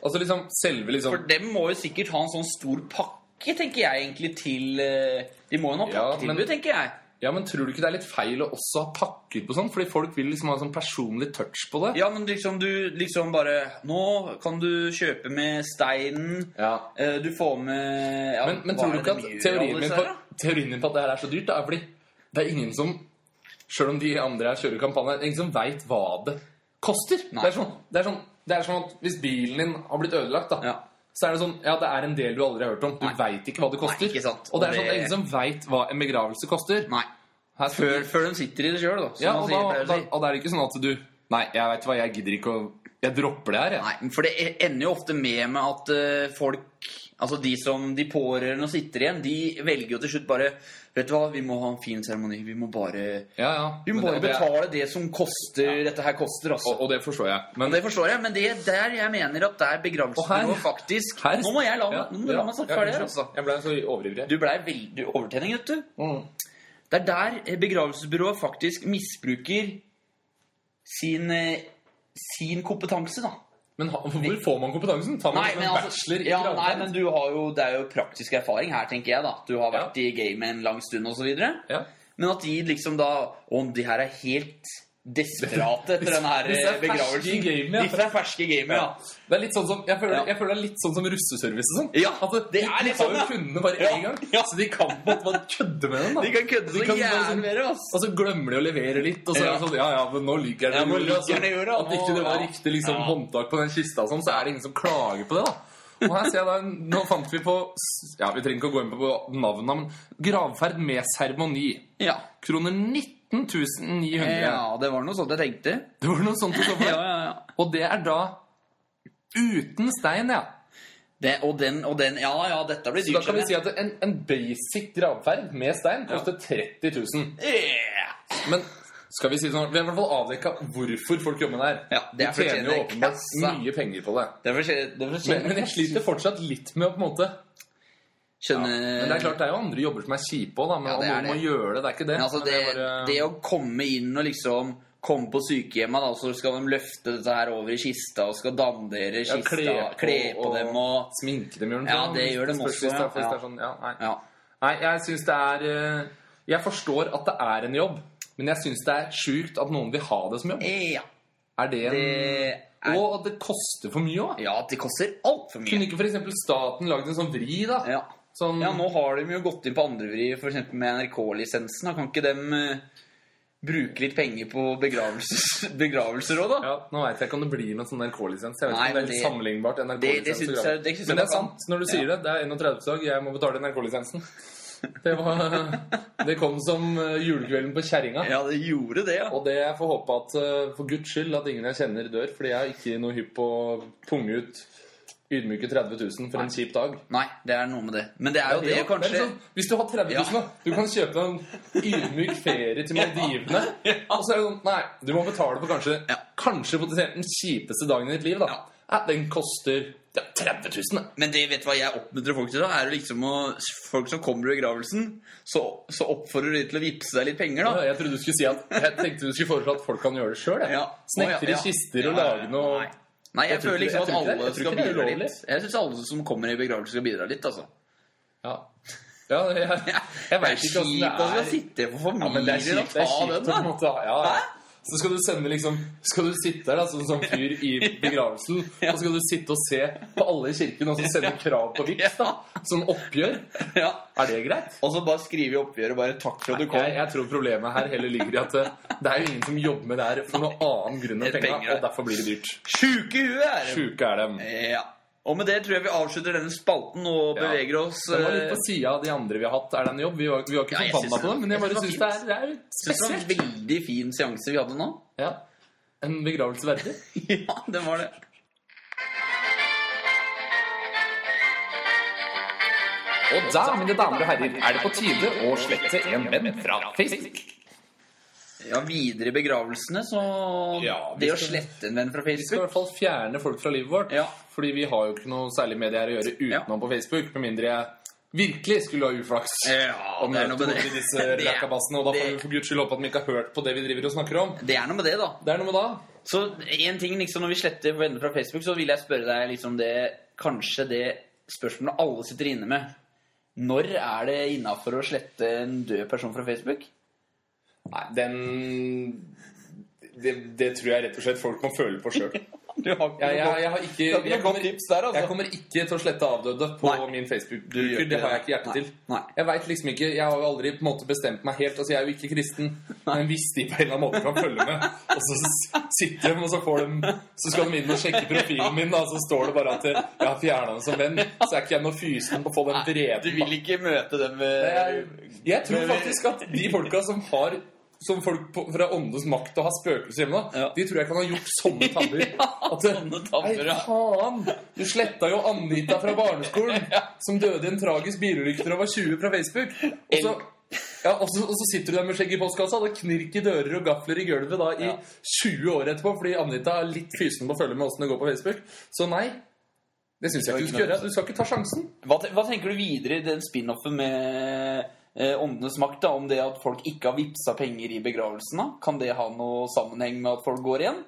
C: altså liksom selve liksom
B: For dem må jo sikkert ha en sånn stor pakke, tenker jeg egentlig, til eh, De må jo ha
C: Ja,
B: pakketilbud,
C: men-
B: tenker jeg.
C: Ja, men tror du ikke det er litt feil å også ha pakker på sånn? Fordi folk vil liksom ha sånn personlig touch på det.
B: Ja, men liksom du liksom bare Nå kan du kjøpe med steinen. eh, Du får med ja,
C: Men, men
B: hva
C: tror du
B: er
C: ikke
B: det de
C: at
B: gjør,
C: teorien
B: alle
C: min,
B: disse
C: på,
B: her, da?
C: teorien min på at det her er så dyrt, da, er fordi det er ingen som Sjøl om de andre her kjører kampanjer, det er ingen som veit hva det koster.
B: Nei.
C: Det er, sånn, det, er sånn, det er sånn at hvis bilen din har blitt ødelagt, da,
B: Ja.
C: så er det sånn Ja, det er en del du aldri har hørt om. Du
B: Nei.
C: veit ikke hva det koster.
B: Nei, ikke sant.
C: Og
B: Og
C: det er sånn, det er
B: det-
C: ingen som veit hva en begravelse koster.
B: Nei.
C: Her skal-
B: Før, før de sitter i det sjøl, da. Som
C: Mm. ja,
B: man
C: og,
B: sier,
C: da,
B: pleier å
C: da,
B: si.
C: og det er ikke sånn at du Nei, jeg veit hva, jeg gidder ikke å Jeg dropper det her, jeg.
B: Nei, men for det e, ender jo ofte med med at eh, folk Altså de som de pårørende og sitter igjen, de velger jo til slutt bare Vet du hva, vi må ha en fin seremoni. Vi må bare
C: Ja, ja.
B: Vi må bare
C: Men det- og det er-
B: betale det som koster dette her koster, altså.
C: og, og det forstår jeg. Men
B: Det forstår jeg, men det er der jeg mener at det er begravelsesbyrå
C: Og her-
B: faktisk
C: her-
B: Nå må jeg la,
C: Ja,
B: meg- nå må du la meg snakke
C: ja,
B: ferdig her,
C: unnskyld.
B: altså.
C: Jeg ble så overivrig.
B: Du blei veldig overtenning, vet du.
C: Mm.
B: Det er der eh, begravelsesbyrået faktisk misbruker sin, eh, sin kompetanse, da.
C: Men ha, hvor får man kompetansen? Tar man
B: Nei,
C: som
B: men,
C: en
B: altså,
C: bachelor i
B: ja, nei,
C: gravferd?
B: men du har jo, det er jo praktisk erfaring her, tenker jeg. da Du har vært i gamet en lang stund osv.
C: Ja.
B: Men at de liksom da Om de her er helt desperate etter den
C: [LAUGHS]
B: her
C: Hvis det er
B: eh,
C: ferske
B: begravelsen.
C: i gamet, ja.
B: Hvis det er ferske i gamet, ja.
C: Det er litt sånn som, jeg, føler,
B: Ja.
C: jeg føler det er litt sånn som russeservice og sånn.
B: Ja,
C: Altså,
B: det
C: de-
B: er litt sånn,
C: De
B: ja.
C: har jo kundene bare
B: Ja,
C: én gang,
B: ja.
C: så de kan på en måte bare kødde med den. da.
B: De kan kødde så
C: kan bare sånn-
B: jævlig med det, ass.
C: Og så glemmer de å levere litt, og så er
B: Ja.
C: det sånn Ja, ja, men nå ligger det
B: Ja,
C: i
B: nå
C: jorda,
B: ligger
C: altså.
B: det i jorda,
C: At ikke
B: nå,
C: det var
B: ja.
C: riktig liksom,
B: Ja.
C: håndtak på den kista og sånn, så er det ingen som klager på det, da. Og her ser jeg da, Nå fant vi på Ja, vi trenger ikke å gå inn på navnene, men Gravferd med seremoni.
B: Ja.
C: Kroner 19.900
B: ja, det var noe sånt jeg tenkte.
C: Det var noe sånt du så på.
B: Ja, ja, ja.
C: Og det er da uten stein, ja.
B: Det, og den og den Ja, ja, dette blir
C: Da
B: dyrt.
C: kan vi
B: skjønner
C: si at en, en basic gravferd med stein koster 30 000.
B: jeg. Yeah.
C: Men skal vi si det sånn, vi har i hvert fall avdekka hvorfor folk jobber med det her.
B: Ja, det er
C: De tjener jo
B: fortjener
C: åpenbart
B: kassa.
C: mye penger på det.
B: Det får skje- det får skje.
C: Men, men jeg sliter fortsatt litt med å på en måte
B: Skjønner
C: Men det er klart det er jo andre jobber som er kjipe òg, da. Men
B: Eh. Ja, det er
C: om noen må
B: det.
C: gjøre det. Det er ikke det.
B: Men altså,
C: Men
B: det,
C: er bare-
B: det å komme inn og liksom komme på sykehjemmet, da, så skal de løfte dette her over i kista og skal dandere
C: Ja,
B: kista,
C: kle på
B: kle på
C: og-
B: dem og
C: Sminke dem, gjør de
B: Ja,
C: sånn,
B: det
C: hvis
B: gjør de
C: spørs
B: også,
C: hvis det er- hvis
B: ja.
C: det er sånn, ja, nei.
B: Ja.
C: Nei, jeg syns det er eh, Jeg forstår at det er en jobb, Men jeg syns det er sjukt at noen vil ha det som jobb.
B: Ja.
C: Er det en...
B: Det er,
C: Og at det koster for mye òg.
B: ja, det koster altfor mye.
C: Kunne ikke f.eks. staten lagd en sånn vri, da?
B: Ja.
C: Sånn,
B: ja, nå har de jo gått inn på andrevri, f.eks. med NRK-lisensen. da. Kan ikke dem eh, bruke litt penger på begravelses, [LAUGHS] begravelser òg, da?
C: ja, nå veit jeg ikke om det blir med en sånn NRK-lisens. Jeg vet
B: Nei,
C: ikke om det er
B: men
C: helt
B: det-
C: sammenlignbart
B: det- det
C: NRK-lisens.
B: syns
C: og
B: jeg-
C: grav.
B: det syns jeg
C: Men det er
B: man kan.
C: sant når du sier det. Det er 31-dag, jeg må betale NRK-lisensen. Det,
B: [LAUGHS]
C: var- det kom som eh, julekvelden på kjerringa.
B: Ja, det gjorde det, ja.
C: Og det jeg får håpe at eh, for guds skyld at ingen jeg kjenner dør, fordi jeg er ikke noe hypp på å punge ut ydmyke 30 000 for en kjip dag.
B: Nei, det er noe med det. Men det er jo det,
C: Ja,
B: kanskje
C: det er sånn, hvis du har 30 000,
B: Ja.
C: da, du kan kjøpe en ydmyk ferie til
B: [LAUGHS]
C: Maldivene. Og så er det sånn Nei, du må betale for kanskje
B: Ja.
C: Kanskje potensielt den kjipeste dagen i ditt liv. da
B: Ja.
C: ja, Den koster ja, 30 000. Da.
B: Men det vet du hva jeg oppmuntrer folk til da Er jo liksom å, folk som kommer i begravelsen Så, så oppfordrer de til å vippse deg litt penger da
C: Jeg trodde du skulle si at Jeg tenkte du skulle foreslå at folk kan gjøre det sjøl.
B: Ja. Å,
C: Snekre
B: ja, ja.
C: i kister og
B: Ja, ja,
C: lage noe
B: Nei, nei jeg,
C: Jeg tror
B: føler
C: ikke-
B: liksom at
C: jeg tror ikke
B: alle
C: det- jeg tror
B: skal
C: ikke det er
B: bidra
C: ulovlig.
B: litt Jeg synes alle som kommer i begravelsen skal bidra litt altså
C: Ja, ja jeg, jeg,
B: Det er altså.
C: jeg veit ikke
B: kjipt
C: åssen
B: å
C: det er.
B: sitte for
C: Ja, men det er
B: familier og
C: kjipt. Det
B: ta
C: er
B: den
C: kjipt å
B: da
C: måtte ha ja,
B: Hæ?
C: ja. Så skal du sende liksom Skal du sitte der da, som sånn fyr [LAUGHS] i begravelsen, og så skal du sitte og se på alle i kirken og så sende krav på vips, da? Som oppgjør?
B: ja.
C: Er det greit?
B: Og så bare skrive i oppgjøret bare takk for at du kom
C: Jeg, jeg tror problemet her heller ligger i at eh, det er jo ingen som jobber med det her for noen annen grunn enn
B: Det er
C: penga,
B: penger,
C: og derfor blir det dyrt.
B: Sjuke i huet er det
C: Sjuke er dem.
B: Ja Og med det tror jeg vi avslutter denne spalten Og
C: Ja.
B: beveger oss
C: Den var
B: eh,
C: litt på sida av de andre vi har hatt. Er det en jobb? Vi var, vi var ikke
B: Ja, jeg
C: forbanna
B: synes
C: på det, men jeg
B: det
C: bare
B: var
C: syns det,
B: fint.
C: er- det er
B: Det var en
C: spesielt.
B: veldig fin seanse vi hadde nå [LAUGHS]
C: Ja. En begravelse verdig.
B: Ja, det var det
A: Og da, mine damer og herrer, er det på tide å slette en venn fra Facebook.
B: Ja, videre i begravelsene, så
C: Ja, vi
B: Det å
C: skal-
B: slette en venn fra
C: Vi skal i
B: Facebook
C: hvert fall fjerne folk fra livet vårt.
B: Ja.
C: Fordi vi har jo ikke noe særlig med det her å gjøre utenom på Facebook. Med mindre jeg virkelig skulle ha uflaks.
B: Ja,
C: Og
B: det er
C: møte
B: noe med
C: noen
B: det.
C: i
B: [LAUGHS]
C: disse
B: Det er-
C: rakabassene. Og da får
B: det-
C: vi for guds skyld håpe at de ikke har hørt på det vi driver og snakker om.
B: Det er noe med det, da.
C: Det er noe med da.
B: Så en ting liksom når vi sletter venner fra Facebook, så vil jeg spørre deg liksom det Kanskje det spørsmålet alle sitter inne med. Når er det innafor å slette en død person fra Facebook?
C: Nei, den det, det tror jeg rett og slett folk må føle på
B: [LAUGHS]
C: sjøl.
B: Du har ikke
C: Jeg, jeg, jeg har ikke
B: Du har ikke noe
C: jeg
B: godt
C: kommer,
B: tips der, altså.
C: jeg kommer ikke til å slette avdøde på
B: Nei.
C: min
B: gjør
C: Facebook-bruker.
B: ikke
C: Det har
B: det.
C: jeg ikke hjerte
B: Nei.
C: til.
B: Nei.
C: Jeg vet liksom ikke, jeg har jo aldri på en måte bestemt meg helt. Altså, Jeg er jo ikke kristen. Men hvis de på en eller annen måte kan følge med, og så s- sitter de, og så, får de, så skal de inn og sjekke profilen min, og så står det bare at jeg har fjerna den som venn, så er ikke jeg noe fysen på å få den
B: Du
C: vreden.
B: vil ikke møte dem
C: Jeg,
B: med
C: jeg tror faktisk at de folka som har som folk på, fra Åndenes makt og har spøkelser hjemme, da,
B: Ja.
C: de tror jeg kan ha gjort sånne tabber.
B: [LAUGHS] Ja,
C: At, eh,
B: sånne tabber, ja.
C: Nei, faen! Du sletta jo Anita fra
B: [LAUGHS]
C: barneskolen, som døde i en tragisk bilulykke da hun var 20, fra Facebook. Og så, ja, og, så, og så sitter du der med skjegg i postkassa, det knirker i dører og gafler i gulvet da i
B: Ja.
C: 20 år etterpå, fordi Anita er litt fysen på å følge med åssen det går på Facebook. Så nei. Det syns jeg ikke du skal gjøre. Du skal ikke ta sjansen.
B: Hva, te- hva tenker du videre i den spin-offen med eh, Åndenes makt? da, Om det at folk ikke har vippsa penger i begravelsen? da? Kan det ha noe sammenheng med at folk går igjen?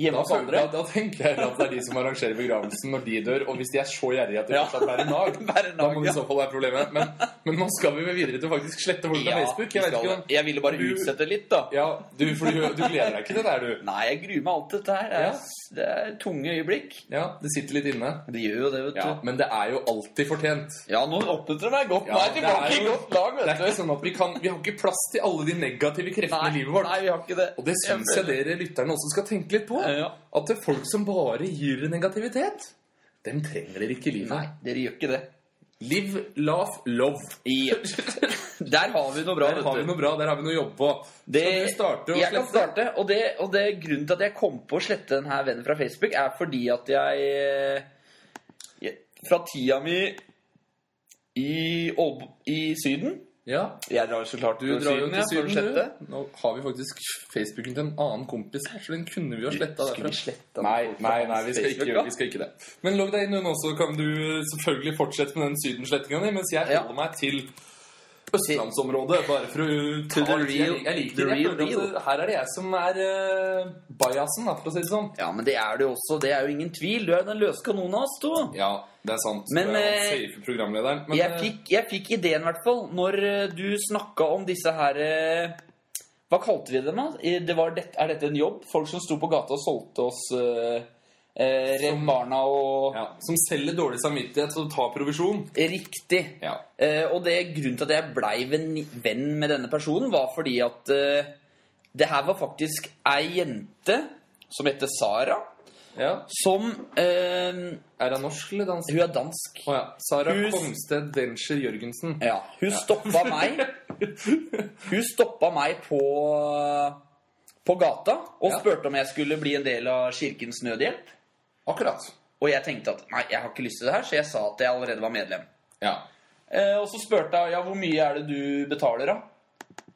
B: Hjemme
C: Da,
B: hos andre?
C: da, da tenker jeg at det er de som arrangerer begravelsen når de dør. Og hvis de er så gjerrige at de
B: Ja.
C: fortsatt bærer nag,
B: Bærer [LAUGHS]
C: da
B: nag,
C: må det
B: ja.
C: i så fall være problemet. Men, men nå skal vi vel videre til å faktisk slette folk fra
B: Ja,
C: Facebook. Jeg
B: vi
C: vet
B: skal det.
C: ikke om
B: jeg ville bare
C: Du-
B: utsette litt, da.
C: Ja, du, for du, du gleder deg ikke til det der, du.
B: Nei, jeg gruer meg alt dette her. Det er, det er tunge øyeblikk.
C: Ja, det sitter litt inne.
B: Det gjør jo det, vet
C: Ja,
B: du.
C: Men det er jo alltid fortjent.
B: Ja, nå oppmuntrer du meg godt.
C: Ja,
B: Nå er
C: det
B: tilbake
C: er
B: i
C: jo-
B: godt lag,
C: Det er
B: vet
C: ikke
B: du.
C: sånn at Vi kan Vi har ikke plass til alle de negative kreftene i livet vårt.
B: nei, vi har ikke det.
C: Og det syns jeg dere lytterne også skal tenke litt på.
B: Ja.
C: At det er folk som bare gir negativitet, dem trenger dere ikke i livet.
B: Nei, dere gjør ikke det.
C: Live, laugh, love.
B: Ja.
C: [LAUGHS]
B: Der har vi noe bra,
C: Der
B: vet
C: har vi
B: du.
C: noe bra, der har vi noe å jobbe på.
B: Det,
C: Skal du starte å
B: jeg kan
C: slette?
B: starte, og det, og det grunnen til at jeg kom på å slette denne vennen fra Facebook, er fordi at jeg, eh, jeg Fra tida mi i, Ålb- i Syden
C: Ja,
B: Jeg drar så klart
C: du
B: til
C: drar jo
B: Syden, ja,
C: til
B: for å
C: Syden,
B: slette.
C: du. Nå har vi faktisk Facebooken til en annen kompis her, så den kunne vi jo sletta
B: Skulle
C: derfra.
B: vi slette
C: Nei,
B: den
C: nei,
B: fra
C: nei, vi skal, ikke,
B: Facebook,
C: gjøre-
B: da?
C: vi skal ikke det. Men logg deg inn, hun også. Kan du selvfølgelig fortsette med den sydenslettinga di, mens jeg
B: Ja.
C: holder meg til østlandsområdet. Bare for å
B: To the
C: ta litt-
B: real-
C: Jeg, jeg
B: the
C: liker det. Jeg
B: real
C: føler at
B: deal.
C: det- Her er det jeg som er uh, bajasen, da, for å si det sånn.
B: Ja, men det er du også. Det er jo ingen tvil. Du er jo den løse kanonen av oss to.
C: Ja, det er sant.
B: Men,
C: Du er han
B: eh,
C: safe programlederen. Men,
B: jeg,
C: eh,
B: fikk, jeg fikk ideen, i hvert fall, når eh, du snakka om disse her eh, Hva kalte vi dem, da? I- Det var dette- er dette en jobb? Folk som sto på gata og solgte oss eh, eh, Redd Barna og
C: Ja, som selger dårlig samvittighet og tar provisjon.
B: Riktig.
C: Ja.
B: Eh, og det grunnen til at jeg blei venn- venn med denne personen, var fordi at eh, det her var faktisk ei jente som heter Sara,
C: ja.
B: som eh,
C: Er han norsk eller dansk?
B: Hun er dansk.
C: Å ja. Sara
B: Hus-
C: Komsted Denscher Jørgensen.
B: Ja. Hun stoppa meg Hun stoppa meg på, på gata og
C: Ja.
B: spurte om jeg skulle bli en del av Kirkens Nødhjelp.
C: Akkurat.
B: Og jeg tenkte at nei, jeg har ikke lyst til det her, så jeg sa at jeg allerede var medlem.
C: Ja.
B: Eh, og så spurte jeg ja, hvor mye er det du betaler, da?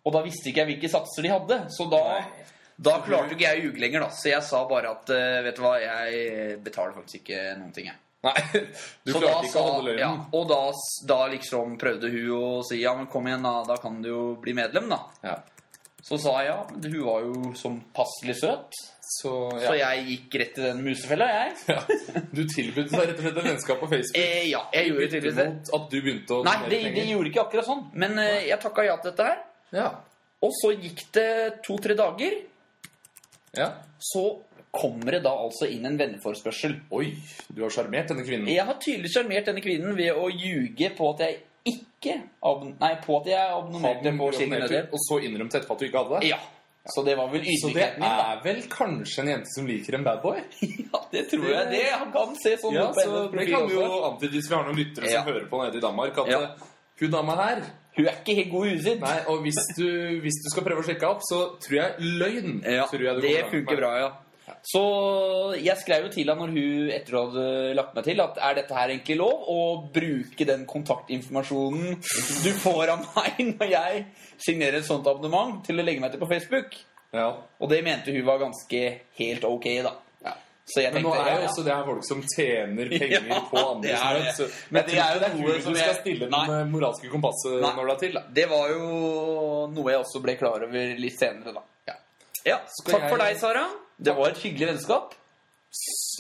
B: Og da visste ikke jeg hvilke satser de hadde, så da,
C: Nei.
B: da klarte jo ikke jeg å ljuge lenger, da. Så jeg sa bare at eh, vet du hva, jeg betaler faktisk ikke noen ting, jeg.
C: Nei, [LAUGHS] du
B: Så da
C: klarte ikke å
B: sa-
C: holde løgnen.
B: Ja, og da, s- da liksom prøvde hun å si ja, men kom igjen, da, da kan du jo bli medlem, da.
C: Ja.
B: Så sa jeg ja, men hun var jo som passelig søt.
C: Så,
B: Så
C: ja.
B: jeg gikk rett i den musefella, jeg.
C: [LAUGHS] ja. Du tilbød deg rett og slett en vennskap på Facebook
B: Eh, ja, jeg gjorde tydeligvis det.
C: mot at du begynte å
B: Nei,
C: donere
B: det, det
C: penger.
B: gjorde ikke akkurat sånn. Men eh, jeg takka ja til dette her.
C: Ja.
B: Og så gikk det to-tre dager,
C: ja.
B: så kommer det da altså inn en venneforspørsel.
C: Oi, du har sjarmert denne kvinnen.
B: Jeg har tydelig sjarmert denne kvinnen ved å ljuge på at jeg ikke abon- Nei, på at jeg abonnerte på Kirken Nødhjelp.
C: og så innrømte etterpå at du ikke hadde det.
B: Ja. Så det var vel
C: Så det
B: ydmykheten min, da.
C: er vel kanskje en jente som liker en badboy?
B: Ja, det tror jeg. Det han kan se sånn
C: Ja,
B: ut på
C: så
B: hennes
C: det
B: profil
C: kan jo
B: også.
C: antyde hvis vi har noen lyttere
B: Ja.
C: som hører på nede i Danmark, at
B: Ja.
C: eh, hun dama her
B: Hun er ikke helt god i huet sitt.
C: Nei, og hvis du, hvis du skal prøve å sjekke opp, så tror jeg løgn
B: Ja,
C: tror jeg du
B: det
C: kommer langt
B: funker
C: med.
B: bra, ja. Så jeg skrev jo til henne når hun etter hun hadde lagt meg til, at er dette her egentlig lov å bruke den kontaktinformasjonen du får av meg når jeg signerer et sånt abonnement, til å legge meg til på Facebook?
C: Ja.
B: Og det mente hun var ganske helt ok, da.
C: Ja.
B: Så jeg
C: Men
B: tenkte
C: nå er
B: ja,
C: jo
B: ja.
C: også det her folk som tjener penger
B: [LAUGHS] Ja,
C: på andres
B: det er
C: nød,
B: det.
C: så-
B: Men
C: Men jeg
B: det
C: tror
B: er
C: ikke
B: jo
C: det er
B: noe
C: noe
B: som
C: som du
B: jeg-
C: skal stille den
B: Nei.
C: eh, moralske kompasset
B: Nei.
C: når det er til. Da.
B: Det var jo noe jeg også ble klar over litt senere, da.
C: Ja.
B: Ja,
C: Skal
B: Takk for
C: jeg-
B: deg, Sara. Det var et hyggelig vennskap.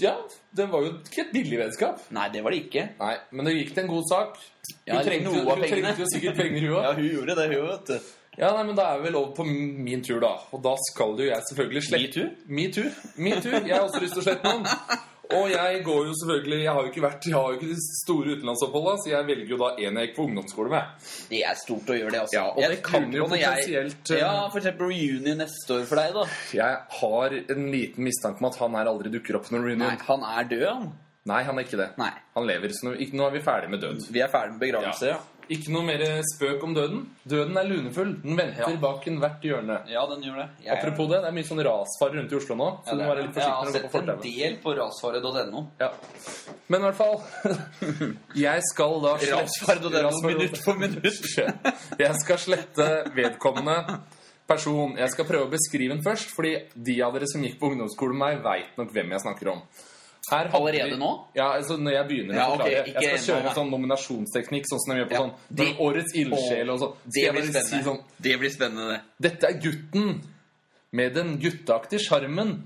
C: Ja, det var jo ikke et billig vennskap.
B: Nei, det var det ikke.
C: Nei, men det gikk til en god sak. Hun
B: Ja,
C: trengte,
B: noe
C: jo-
B: av
C: hun
B: pengene.
C: trengte jo sikkert penger, hun
B: [LAUGHS]
C: òg.
B: Ja, hun gjorde det, hun, vet du.
C: Ja, nei, men da er vi vel over på min tur, da. Og da skal jo jeg selvfølgelig slette
B: Metoo?
C: Metoo. Metoo. Jeg har også lyst til å slette noen. Og jeg går jo selvfølgelig Jeg har jo ikke vært Jeg har jo ikke de store utenlandsoppholda, så jeg velger jo da en jeg gikk på ungdomsskole med.
B: Det er stort å gjøre det, altså.
C: Ja, og det kan jo potensielt, eh,
B: Ja, for eksempel reunion neste år for deg, da.
C: Jeg har en liten mistanke om at han her aldri dukker opp på
B: Nei,
C: noen reunion. Nei.
B: han er død, han.
C: han er ikke det.
B: Nei.
C: Han lever, så nå, ikke, nå er vi ferdig med død.
B: Vi er ferdig med begravelse, ja.
C: Ikke noe mer spøk om døden. Døden er lunefull. Den venter
B: Ja.
C: bak enhert hjørne.
B: Ja, den gjør det. Jeg,
C: Apropos det, det er mye sånn rasfare rundt i Oslo nå. Så
B: ja,
C: du må
B: det er-
C: være litt
B: Jeg
C: forsiktig
B: har
C: når du går
B: sett
C: på
B: en
C: fortauet.
B: del på rasfare.no.
C: Ja. Men i hvert fall [LAUGHS] Jeg skal da slette-
B: Rasfare.no minutt for minutt.
C: Jeg skal slette vedkommende person. Jeg skal prøve å beskrive den først, fordi de av dere som gikk på ungdomsskolen med meg, veit nok hvem jeg snakker om. Her hadde
B: Allerede
C: vi-
B: nå?
C: Ja, altså når jeg begynner
B: Ja,
C: å
B: ok,
C: forklare. jeg
B: ikke
C: skal
B: ennå,
C: kjøre
B: nei.
C: en sånn nominasjonsteknikk, sånn som de gjør på
B: Ja,
C: sånn
B: det-
C: når Årets ildsjel og sånn. Skal
B: Det
C: jeg
B: blir
C: bare si
B: spennende.
C: sånn
B: Det blir spennende.
C: Dette er gutten med den gutteaktige sjarmen.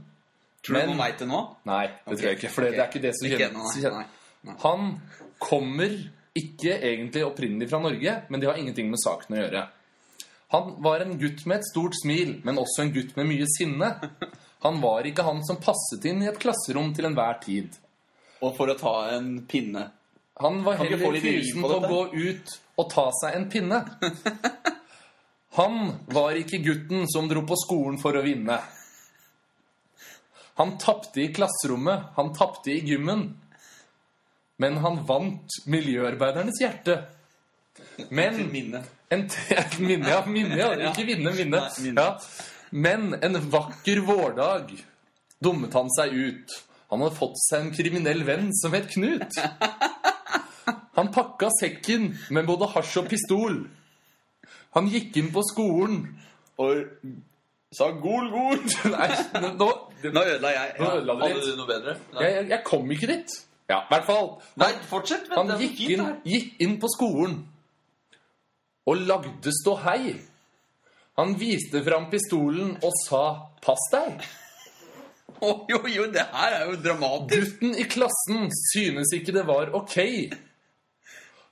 B: Tror du
C: Men-
B: på meg til nå?
C: Nei, det
B: Ok,
C: tror jeg ikke. For det-
B: ok.
C: det er ikke det som
B: Ikke
C: kjenner-
B: ennå,
C: som
B: nei,
C: kjenner.
B: nei. nei.
C: Han kommer ikke egentlig opprinnelig fra Norge, men det har ingenting med saken å gjøre. Han var en gutt med et stort smil, men også en gutt med mye sinne. Han var ikke han som passet inn i et klasserom til enhver tid.
B: Og for å ta en pinne.
C: Han var
B: Kan vi få
C: heller
B: litt rim
C: fysen
B: på
C: til å
B: dette?
C: gå ut og ta seg en
B: [LAUGHS]
C: pinne. Han var ikke gutten som dro på skolen for å vinne. Han tapte i klasserommet, han tapte i gymmen. Men han vant miljøarbeidernes hjerte. Men
B: Til minne.
C: en t- [LAUGHS] et minne, ja. Minne, ja. Ikke vinne, minne.
B: Nei, minne.
C: Ja. Men en vakker vårdag dummet han seg ut. Han hadde fått seg en kriminell venn som het Knut. Han pakka sekken med både hasj og pistol. Han gikk inn på skolen
B: Og sa gol, gol.
C: Nei, nå
B: Nå ødela jeg.
C: Nå ødela du litt.
B: Hadde du noe bedre? Nei.
C: Jeg, jeg, jeg kom ikke dit. Ja, i hvert fall.
B: Nei, fortsett. Vent,
C: Han
B: det er
C: gikk
B: fint,
C: inn,
B: det her.
C: gikk inn på skolen og lagde ståhei. Han viste fram pistolen og sa 'pass deg'.
B: Oi, oi, oi, det her er jo dramatisk.
C: Gutten i klassen synes ikke det var ok.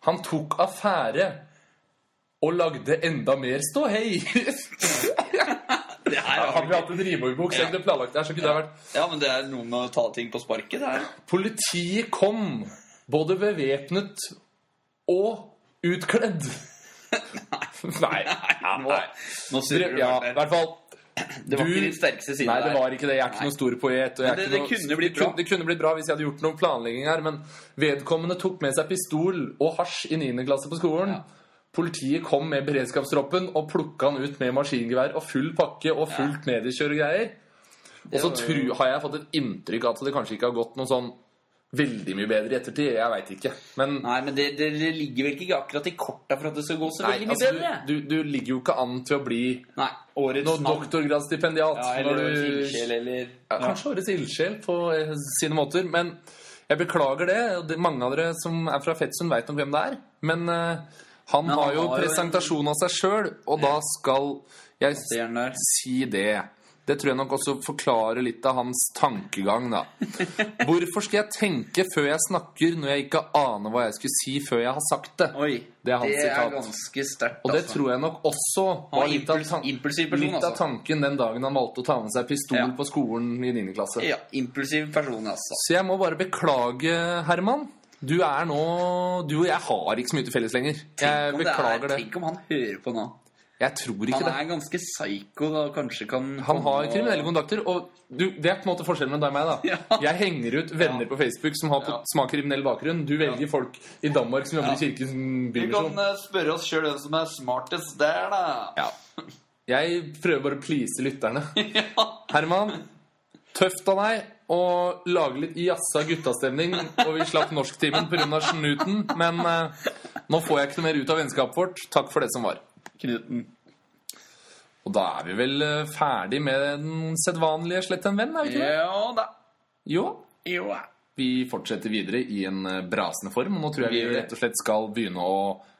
C: Han tok [LAUGHS] affære og lagde enda mer ståhei.
B: Det er jo
C: Hadde vi hatt en rimordbok, så egentlig planlagt det her, så kunne det vært
B: Ja, men det er noe med å ta ting på sparket, det her.
C: Politiet kom, både bevæpnet og utkledd. [LAUGHS] Nei.
B: Nå, nå surrer
C: Dere,
B: du
C: ja,
B: bort
C: i
B: der.
C: hvert fall
B: Det var
C: du-
B: ikke din sterkeste side
C: Nei, det
B: der.
C: var ikke det. Jeg er ikke
B: Nei.
C: noen stor poet. Og
B: Men
C: jeg er
B: det-
C: ikke
B: det
C: noe-
B: kunne blitt
C: det kunne,
B: bra.
C: det kunne blitt bra hvis jeg hadde gjort noen planlegging her, men vedkommende tok med seg pistol og hasj i 9. klasse på skolen.
B: Ja.
C: Politiet kom med beredskapstroppen og plukka han ut med maskingevær og full pakke og fullt mediekjør og greier. Og så tru, har jeg fått et inntrykk av at det kanskje ikke har gått noe sånn veldig mye bedre i ettertid. Jeg veit ikke. Men
B: Nei, men det, det, det ligger vel ikke akkurat i korta for at det skal gå så
C: Nei,
B: veldig mye
C: altså,
B: bedre.
C: du, du, du ligger jo ikke an til å bli
B: Nei.
C: noe doktorgradsstipendiat.
B: Ja,
C: når
B: eller
C: du-
B: ildsjel, eller
C: Ja, kanskje årets ildsjel på eh, sine måter. Men jeg beklager det. og det- Mange av dere som er fra Fettsund, veit nok hvem det er. Men eh, han
B: Men han
C: har jo
B: har jo en-
C: presentasjon av seg sjøl, og da skal jeg s-
B: Stjern der.
C: si det. Det tror jeg nok også forklarer litt av hans
B: [LAUGHS]
C: tankegang, da. Hvorfor skal jeg tenke før jeg snakker, når jeg ikke aner hva jeg skulle si før jeg har sagt det?
B: Oi.
C: Det er hans sitat.
B: ganske sterkt.
C: Og det
B: altså.
C: tror jeg nok også
B: Han
C: var
B: er
C: litt av,
B: impuls,
C: tan
B: impulsiv person,
C: litt av
B: altså.
C: tanken den dagen han valgte å ta med seg pistol
B: Ja.
C: på skolen i 9. klasse.
B: Ja, impulsiv person, altså.
C: Så jeg må bare beklage, Herman. Du er nå Du og jeg har ikke så mye til felles lenger. Jeg
B: Om det er,
C: beklager det.
B: Tenk om han hører på nå.
C: Jeg tror
B: Han
C: ikke det.
B: er ganske psycho da, kanskje kan
C: Han
B: komme
C: har
B: og-
C: kriminelle kontakter, og du, det er på en måte forskjellen med deg og meg.
B: [LAUGHS]
C: da.
B: Ja.
C: Jeg henger ut venner på Facebook som har,
B: Ja.
C: som har kriminell bakgrunn. Du velger folk i Danmark som jobber i Kirkens
B: Du
C: Bymisjon.
B: kan eh, spørre oss sjøl hvem som er smartest der, da.
C: Ja. Jeg prøver bare å please lytterne.
B: [LAUGHS] Ja.
C: Herman, tøft av deg å lage litt jazza guttastemning, og vi slapp norsktimen pga. snuten, men eh, nå får jeg ikke noe mer ut av vennskapet vårt. Takk for det som var.
B: Knuten.
C: Og da er vi vel eh, ferdig med den sedvanlige slett en venn, er vi ikke det?
B: Ja da.
C: Jo.
B: Jo da.
C: Vi fortsetter videre i en eh, brasende form, og nå tror jeg
B: Vi gjør
C: vi
B: det.
C: rett og slett skal begynne å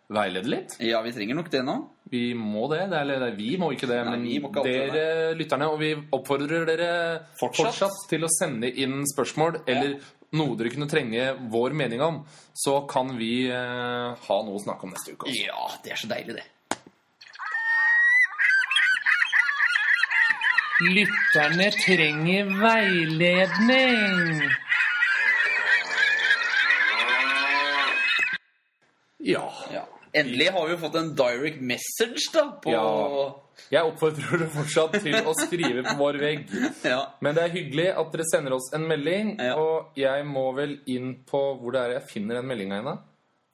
C: veilede litt.
B: Ja, vi trenger nok det nå.
C: Vi må det. det er, eller det er vi må ikke det,
B: Nei,
C: men
B: vi må ikke alltid
C: dere lytterne. Og vi oppfordrer dere fortsatt,
B: Fortsatt.
C: til å sende inn spørsmål eller noe dere kunne trenge vår mening om. Så kan vi eh, ha noe å snakke om neste uke. også.
B: Ja, det er så deilig, det.
D: Lytterne trenger veiledning.
C: Ja.
B: Ja. Endelig har vi jo fått en direct message, da, på
C: Ja. Jeg oppfordrer dere fortsatt til å skrive på vår vegg.
B: Ja.
C: Men det er hyggelig at dere sender oss en melding.
B: Ja.
C: Og jeg må vel inn på hvor det er jeg finner den meldinga henne.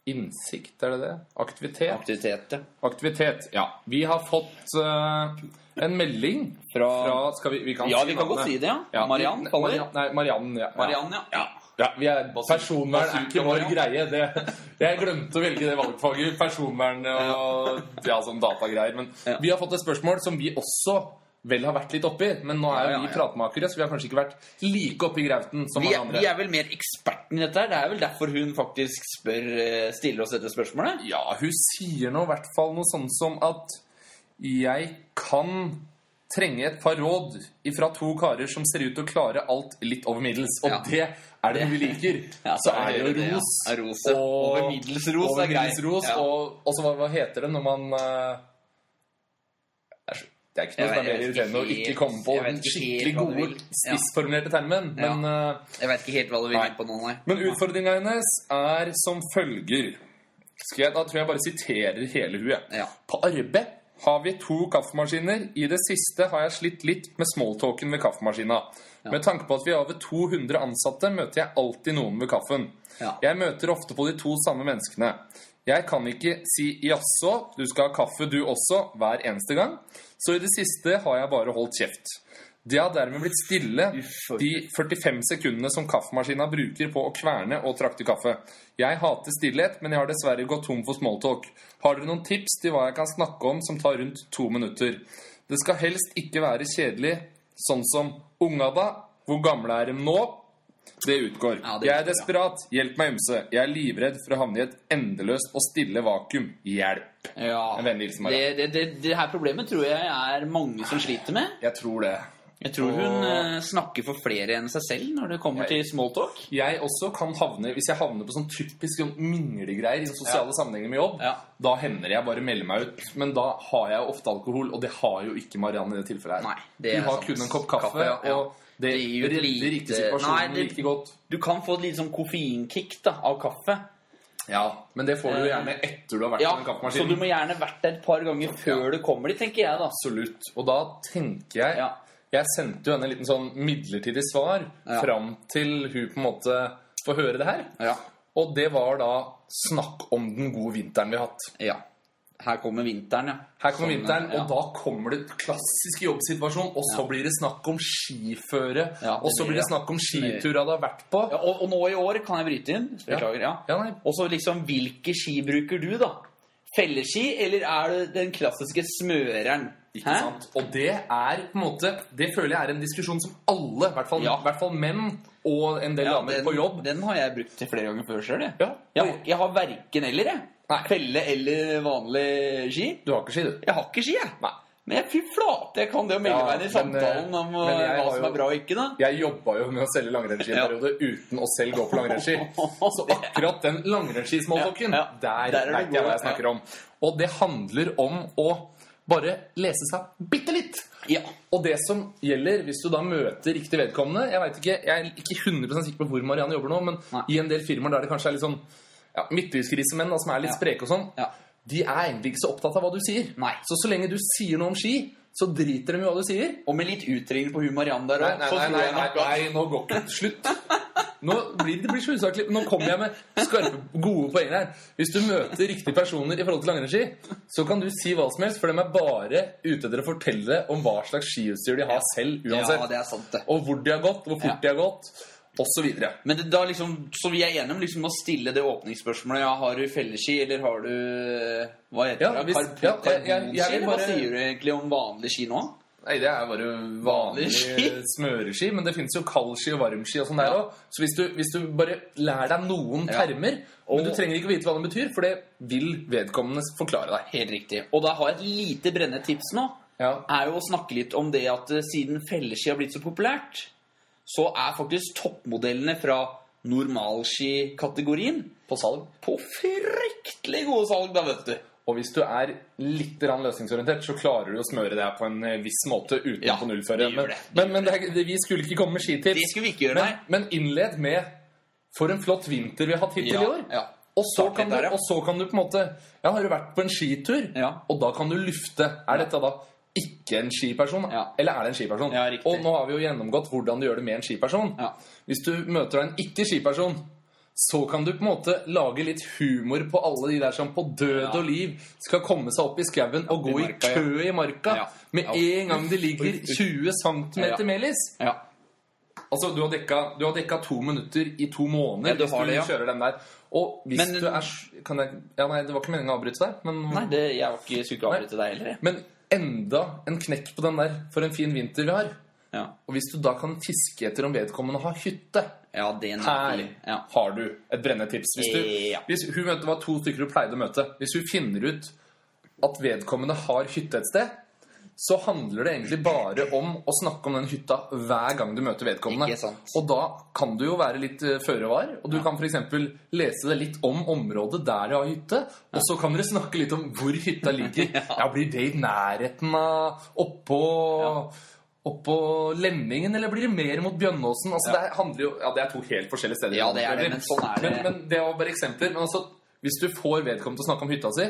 C: Innsikt, er det det? Aktivitet?
B: Aktiviteter.
C: Aktivitet, ja. Vi har fått eh, en melding
B: Fra-
C: fra skal vi, vi kan
B: Ja,
C: si
B: vi kan godt
C: navnet.
B: si det, ja.
C: Ja,
B: Mariann
C: vi-
B: kaller
C: Mariann- Nei, Mariann, ja. ja.
B: Mariann, ja.
C: ja vi er, personvern er ikke vår
B: Mariann.
C: greie. Det, jeg glemte å velge det valgfaget. Personvern og ja, sånn datagreier. Men
B: Ja.
C: vi har fått et spørsmål som vi også vel har vært litt oppi. Men nå er
B: Ja, ja,
C: vi
B: ja.
C: pratmakere, så vi har kanskje ikke vært like oppi grauten som
B: Vi
C: mange
B: er,
C: andre.
B: vi er vel mer eksperten i dette her. Det er vel derfor hun faktisk spør, eh, stiller oss dette spørsmålet.
C: Ja, hun sier nå i hvert fall noe sånn som at jeg kan trenge et par råd ifra to karer som ser ut til å klare alt litt over middels. Og
B: Ja.
C: det er det noe vi liker.
B: [LAUGHS] Ja,
C: så er det jo
B: ja.
C: ros.
B: Ja, ros, ja. Over middels ros
C: over
B: er grei.
C: middels ros,
B: Ja.
C: Og, og så hva, hva heter det når man eh, det er så- Det er ikke noe
B: Jeg
C: som er
B: vet
C: mer
B: ikke
C: irriterende å
B: helt-
C: ikke komme på
B: jeg vet
C: den
B: ikke
C: skikkelig
B: helt hva du
C: gode,
B: vil. Ja.
C: spissformulerte termen.
B: Ja.
C: Men eh,
B: Jeg veit ikke helt hva du vil
C: Nei.
B: på nå, nei.
C: men utfordringa hennes er som følger Skal jeg, Da tror jeg bare siterer hele huet.
B: Ja.
C: På arbeid har vi to kaffemaskiner. I det siste har jeg slitt litt med smalltalken ved kaffemaskina. Med tanke på at vi har over 200 ansatte, møter jeg alltid noen ved kaffen.
B: Ja.
C: Jeg møter ofte på de to samme menneskene. Jeg kan ikke si 'jaså, du skal ha kaffe du også' hver eneste gang, så i det siste har jeg bare holdt kjeft. Det har dermed blitt stille
B: og
C: de 45 sekundene som kaffemaskina bruker på å kverne og trakte kaffe. Jeg hater stillhet, men jeg har dessverre gått tom for smalltalk. Har dere noen tips til hva jeg kan snakke om som tar rundt to minutter? Det skal helst ikke være kjedelig, sånn som 'unga da', 'hvor gamle er dem nå'? Det utgår.
B: Ja, det
C: jeg
B: utgår, ja.
C: er desperat. Hjelp meg ymse. Jeg er livredd for å havne i et endeløst og stille vakuum. Hjelp.
B: Ja.
C: En vennlig hilsen, Mariann.
B: Det, det, det, det her problemet tror jeg er mange som sliter med.
C: Jeg tror det.
B: Jeg tror hun eh, snakker for flere enn seg selv når det kommer til smalltalk.
C: Jeg også kan havne, Hvis jeg havner på sånn typisk sånn minglegreier i sosiale sammenhenger med jobb,
B: Ja.
C: da hender det jeg bare melder meg ut. Men da har jeg jo ofte alkohol, og det har jo ikke Marianne i det tilfellet her.
B: Nei, det er
C: Hun har
B: sant.
C: kun en kopp kaffe,
B: Kaffe, ja, ja.
C: og det,
B: Det gir jo et
C: redder
B: lite-
C: ikke situasjonen
B: Nei, det-
C: like godt.
B: Du kan få et lite sånn koffeinkick da, av kaffe.
C: Ja, Men det får du jo gjerne etter du har vært
B: Ja,
C: på den
B: Så du
C: kaffemaskinen.
B: må gjerne vært der et par ganger før du kommer dit, tenker jeg, da.
C: Absolutt. Og da tenker jeg
B: Ja.
C: Jeg sendte jo henne en liten sånn midlertidig svar
B: Ja.
C: fram til hun på en måte får høre det her.
B: Ja.
C: Og det var da snakk om den gode vinteren vi har hatt.
B: ja. Her kommer vinteren, ja.
C: Her kommer vinteren,
B: Sånn, ja.
C: og da kommer det klassisk jobbsituasjon. Og så blir det snakk om skiføre.
B: Ja, det
C: og så
B: blir det,
C: blir det snakk om skiturer du har vært på.
B: ja og, og nå i år kan jeg bryte inn. Beklager, ja.
C: Ja, nei.
B: Og så liksom, hvilke ski bruker du, da? Felleski, eller er det den klassiske smøreren?
C: Ikke sant? Og det er på en måte Det føler jeg er en diskusjon som alle, i hvert fall,
B: Ja.
C: i hvert fall menn og en del
B: Ja,
C: damer
B: den,
C: på jobb
B: den har jeg brukt til flere ganger før sjøl, jeg.
C: Ja.
B: Jeg, har- jeg har verken eller, jeg.
C: Nei.
B: Felle eller vanlig ski.
C: Du har ikke ski, du?
B: Jeg har ikke ski, jeg.
C: Nei.
B: Men jeg fy flate, jeg kan det å melde
C: Ja,
B: meg inn i
C: men,
B: samtalen om
C: men jeg
B: eh, hva
C: har
B: som
C: jo-
B: er bra og ikke, da.
C: Jeg jobba jo med å selge langrennsski en
B: Ja.
C: periode uten å selv gå på langrennsski. Så akkurat den langrennsskismåltokken,
B: Ja, ja. Der er
C: der
B: du
C: veit jeg
B: god,
C: hva jeg snakker om. Og det handler om å bare lese seg bitte litt.
B: Ja.
C: Og det som gjelder hvis du da møter riktig vedkommende Jeg vet ikke, jeg er ikke 100 sikker på hvor Marianne jobber nå, men
B: Nei.
C: i en del firmaer der det kanskje er litt sånn ja, midtbygdsgrisemenn da, som er litt
B: Ja.
C: spreke og sånn,
B: Ja.
C: de er egentlig ikke så opptatt av hva du sier.
B: Nei.
C: Så så lenge du sier noe om ski, så driter de i hva du sier.
B: Og med litt utringning på humorian der
C: Nei,
B: òg,
C: nei,
B: så
C: nei,
B: tror
C: nei,
B: jeg
C: nei,
B: nok at
C: nei, nå går ikke Slutt. Nå blir det blir så usaklig. Nå kommer jeg med skarpe, gode poeng her. Hvis du møter riktige personer i forhold til langrennsski, så kan du si hva som helst, for de er bare ute etter å fortelle om hva slags skiutstyr de har selv,
B: Ja,
C: uansett.
B: det er sant, det.
C: Og hvor de har gått, hvor fort de har gått, osv.
B: Men det, da liksom, så vi er enige om liksom å stille det åpningsspørsmålet ja, Har du felleski, eller har du eh, Hva heter
C: Ja,
B: det?
C: hvis-
B: Karp-
C: ja, jeg- jeg-
B: karbonski?
C: jeg vil
B: eller Hva
C: bare-
B: sier du egentlig om vanlig ski nå?
C: Nei, det er bare
B: Vanlig
C: vanlig
B: ski.
C: smøreski, men det fins jo kaldski og varmski og sånn der òg. Så hvis du, hvis du bare lærer deg noen
B: Ja.
C: termer Men du trenger ikke vite hva de betyr, for det vil vedkommende forklare deg.
B: Helt riktig. Og da har jeg et lite brennende tips nå.
C: Ja.
B: Er jo å snakke litt om det at eh, siden felleski har blitt så populært, så er faktisk toppmodellene fra normalskikategorien
C: På salg.
B: på fryktelig gode salg, da, vet du.
C: Og hvis du er litt grann løsningsorientert, så klarer du å smøre det her på en eh, viss måte uten
B: Ja,
C: å nullføre.
B: det gjør
C: Men,
B: det, det
C: men, men det er, det, vi skulle ikke komme med
B: Det
C: skitips.
B: skulle vi ikke gjøre,
C: Men,
B: nei.
C: men innled med 'For en flott vinter vi har hatt hittil
B: Ja,
C: i år'.
B: ja.
C: Og, så
B: Start
C: kan
B: litt
C: du,
B: der, ja.
C: og så kan du på en måte Ja, har du vært på en skitur?
B: Ja.
C: Og da kan du lufte. Er dette da ikke en skiperson?
B: Ja.
C: Eller er det en skiperson?
B: Ja, riktig.
C: og nå har vi jo gjennomgått hvordan du gjør det med en skiperson.
B: Ja.
C: Hvis du møter en ikke-skiperson, så kan du på en måte lage litt humor på alle de der som på død og liv skal komme seg opp i skauen og gå i
B: marka, ja.
C: kø i marka
B: Ja.
C: med en gang de ligger 20 cm
B: Ja.
C: melis.
B: Ja.
C: Altså, du har, dekka, du har dekka to minutter i to måneder
B: Ja, du har
C: hvis du
B: det, ja.
C: kjører den der. Og hvis
B: Men-
C: du er s- kan jeg, ja, nei, Det var ikke meningen å avbryte deg, men,
B: Nei, det, jeg var ikke, skulle ikke avbryte deg heller. jeg.
C: men enda en knekk på den der for en fin vinter vi har.
B: Ja,
C: Og hvis du da kan fiske etter om vedkommende har hytte
B: ja det er
C: Her
B: nøkkelig. Ja.
C: har du et brennende tips. Hvis, du,
B: Ja.
C: hvis hun møtte, var to stykker du pleide å møte Hvis hun finner ut at vedkommende har hytte et sted, så handler det egentlig bare om å snakke om den hytta hver gang du møter vedkommende.
B: Ikke sant.
C: Og da kan du jo være litt eh, føre var, og du kan f.eks. lese det litt om området der de har hytte, og så kan dere snakke litt om hvor hytta ligger. Ja, Blir det i nærheten av oppå Oppå Lenningen, eller blir det mer mot Bjønnåsen? Altså, Det handler jo, ja, det er to helt forskjellige steder.
B: Ja, det er det, men sånn er det.
C: Men, men det var bare eksempler. Men altså, hvis du får vedkommende til å snakke om hytta si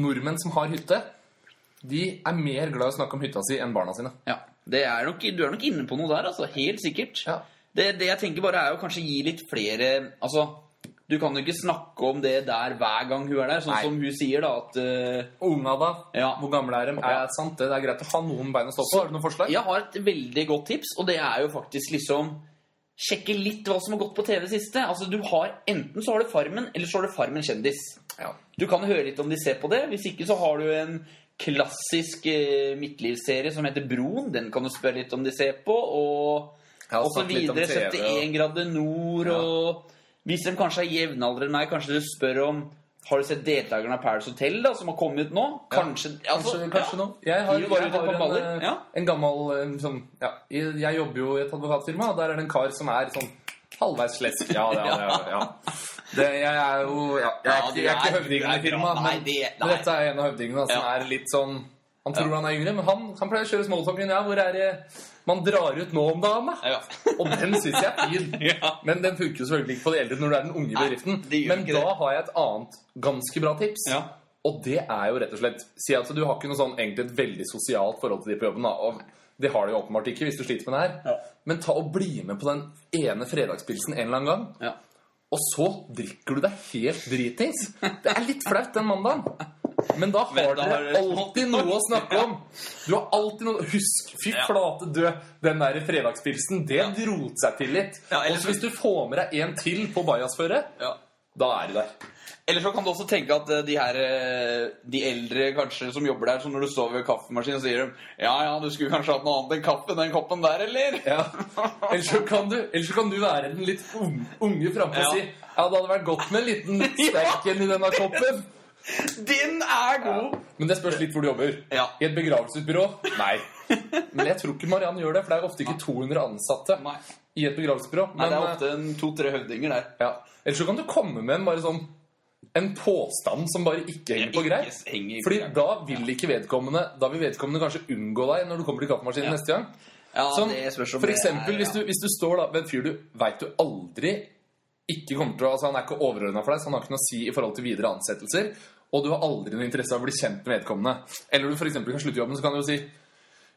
C: Nordmenn som har hytte, de er mer glad i å snakke om hytta si enn barna sine.
B: Ja, det er nok, Du er nok inne på noe der, altså. Helt sikkert.
C: Ja.
B: Det, det jeg tenker bare er jo kanskje gi litt flere Altså, du kan jo ikke snakke om det der hver gang hun er der, sånn
C: Nei.
B: som hun sier, da, at eh,
C: Unga, da?
B: Ja.
C: Hvor gamle er de? Er det sant? Det er greit å ha noen bein å stå på. Har du noen forslag?
B: Jeg har et veldig godt tips, og det er jo faktisk liksom Sjekke litt hva som har gått på TV siste. Altså, du har Enten så har du Farmen, eller så har du Farmen kjendis.
C: Ja.
B: Du kan høre litt om de ser på det. Hvis ikke så har du en klassisk eh, midtlivsserie som heter Broen. Den kan du spørre litt om de ser på. Og,
C: har
B: og så
C: snakket litt om
B: videre.
C: TV,
B: 71 grader nord og Hvis de kanskje er jevnaldrende enn meg, kanskje du spør om Har du sett deltakerne av Paris Hotel da, som har kommet nå? Kanskje, altså,
C: Kanskje, kanskje
B: ja.
C: nå. Jeg har,
B: Gir jo bare
C: jeg
B: ut et
C: har
B: par
C: en,
B: baller,
C: eh,
B: ja.
C: en gammel eh, sånn, ja, jeg, jeg jobber jo i et advokatfirma, og der er det en kar som er sånn halvveis slesk. Ja,
B: [LAUGHS]
C: det er det. Ja. Det, jeg er jo ja, jeg, er,
B: Ja,
C: ikke-
B: du
C: jeg er ikke
B: er- du
C: høvdingen
B: er
C: i firmaet,
B: bra. Nei,
C: men,
B: det-
C: men
B: nei.
C: dette er en av høvdingene da, som
B: Ja.
C: er litt sånn Han tror han er yngre, men han, han pleier å kjøre smalltalken. Ja, hvor er det man drar ut nå om dagen, da? [LAUGHS]
B: Ja.
C: Og den syns jeg
B: [LAUGHS]
C: er fin. Men den funker jo selvfølgelig ikke på de eldre når du er den unge i bedriften.
B: det gjør
C: Men
B: ikke
C: da
B: det.
C: har jeg et annet ganske bra tips.
B: Ja.
C: Og det er jo rett og slett Si at du har ikke noe sånn egentlig et veldig sosialt forhold til de på jobben. Da. Og det har du jo åpenbart ikke hvis du sliter med det her. Men ta og bli med på den ene fredagspilsen en eller annen gang.
B: Ja.
C: Og så drikker du deg helt dritings. Det er litt flaut den mandagen. Men da har
B: da har
C: dere
B: dere
C: alltid noe å snakke om. Du har alltid noe Husk, fy flate død, den der fredagspilsen, det drot seg til litt.
B: Ja, eller-
C: Og så hvis du får med deg en til på bajasføret,
B: Ja.
C: da er du der.
B: Eller så kan du også tenke at eh, de her eh, De eldre kanskje som jobber der, som når du står ved kaffemaskinen, så sier de Ja ja, du skulle kanskje hatt noe annet enn kaffe, den koppen der, eller? [LAUGHS]
C: Ja. Ellers så kan du, ellers så kan du være den litt un- unge frampå
B: Ja.
C: og si ja, det hadde vært godt med en
B: [LAUGHS]
C: liten sterken i denne koppen.
B: Den er god!
C: Men det spørs litt hvor du jobber.
B: Ja.
C: I et begravelsesbyrå? Nei. Men jeg tror ikke Mariann gjør det, for det er ofte ikke 200 ansatte
B: Nei.
C: i et begravelsesbyrå.
B: Nei, det er
C: eh,
B: ofte en to-tre høvdinger der.
C: ja. Ellers så kan du komme med en bare sånn en påstand som bare ikke henger på greip.
B: Ikke henger på
C: Fordi
B: greip.
C: da vil ikke vedkommende Da vil vedkommende kanskje unngå deg når du kommer til kaffemaskinen neste gang.
B: ja,
C: Som,
B: det spørs om
C: sånn, for
B: det
C: eksempel,
B: er-
C: hvis, du, hvis du står da ved en fyr du veit du aldri ikke kommer til å altså Han er ikke overordna for deg, så han har ikke noe å si i forhold til videre ansettelser. Og du har aldri noe interesse av å bli kjent med vedkommende. Eller du for eksempel kan slutte i jobben, så kan du jo si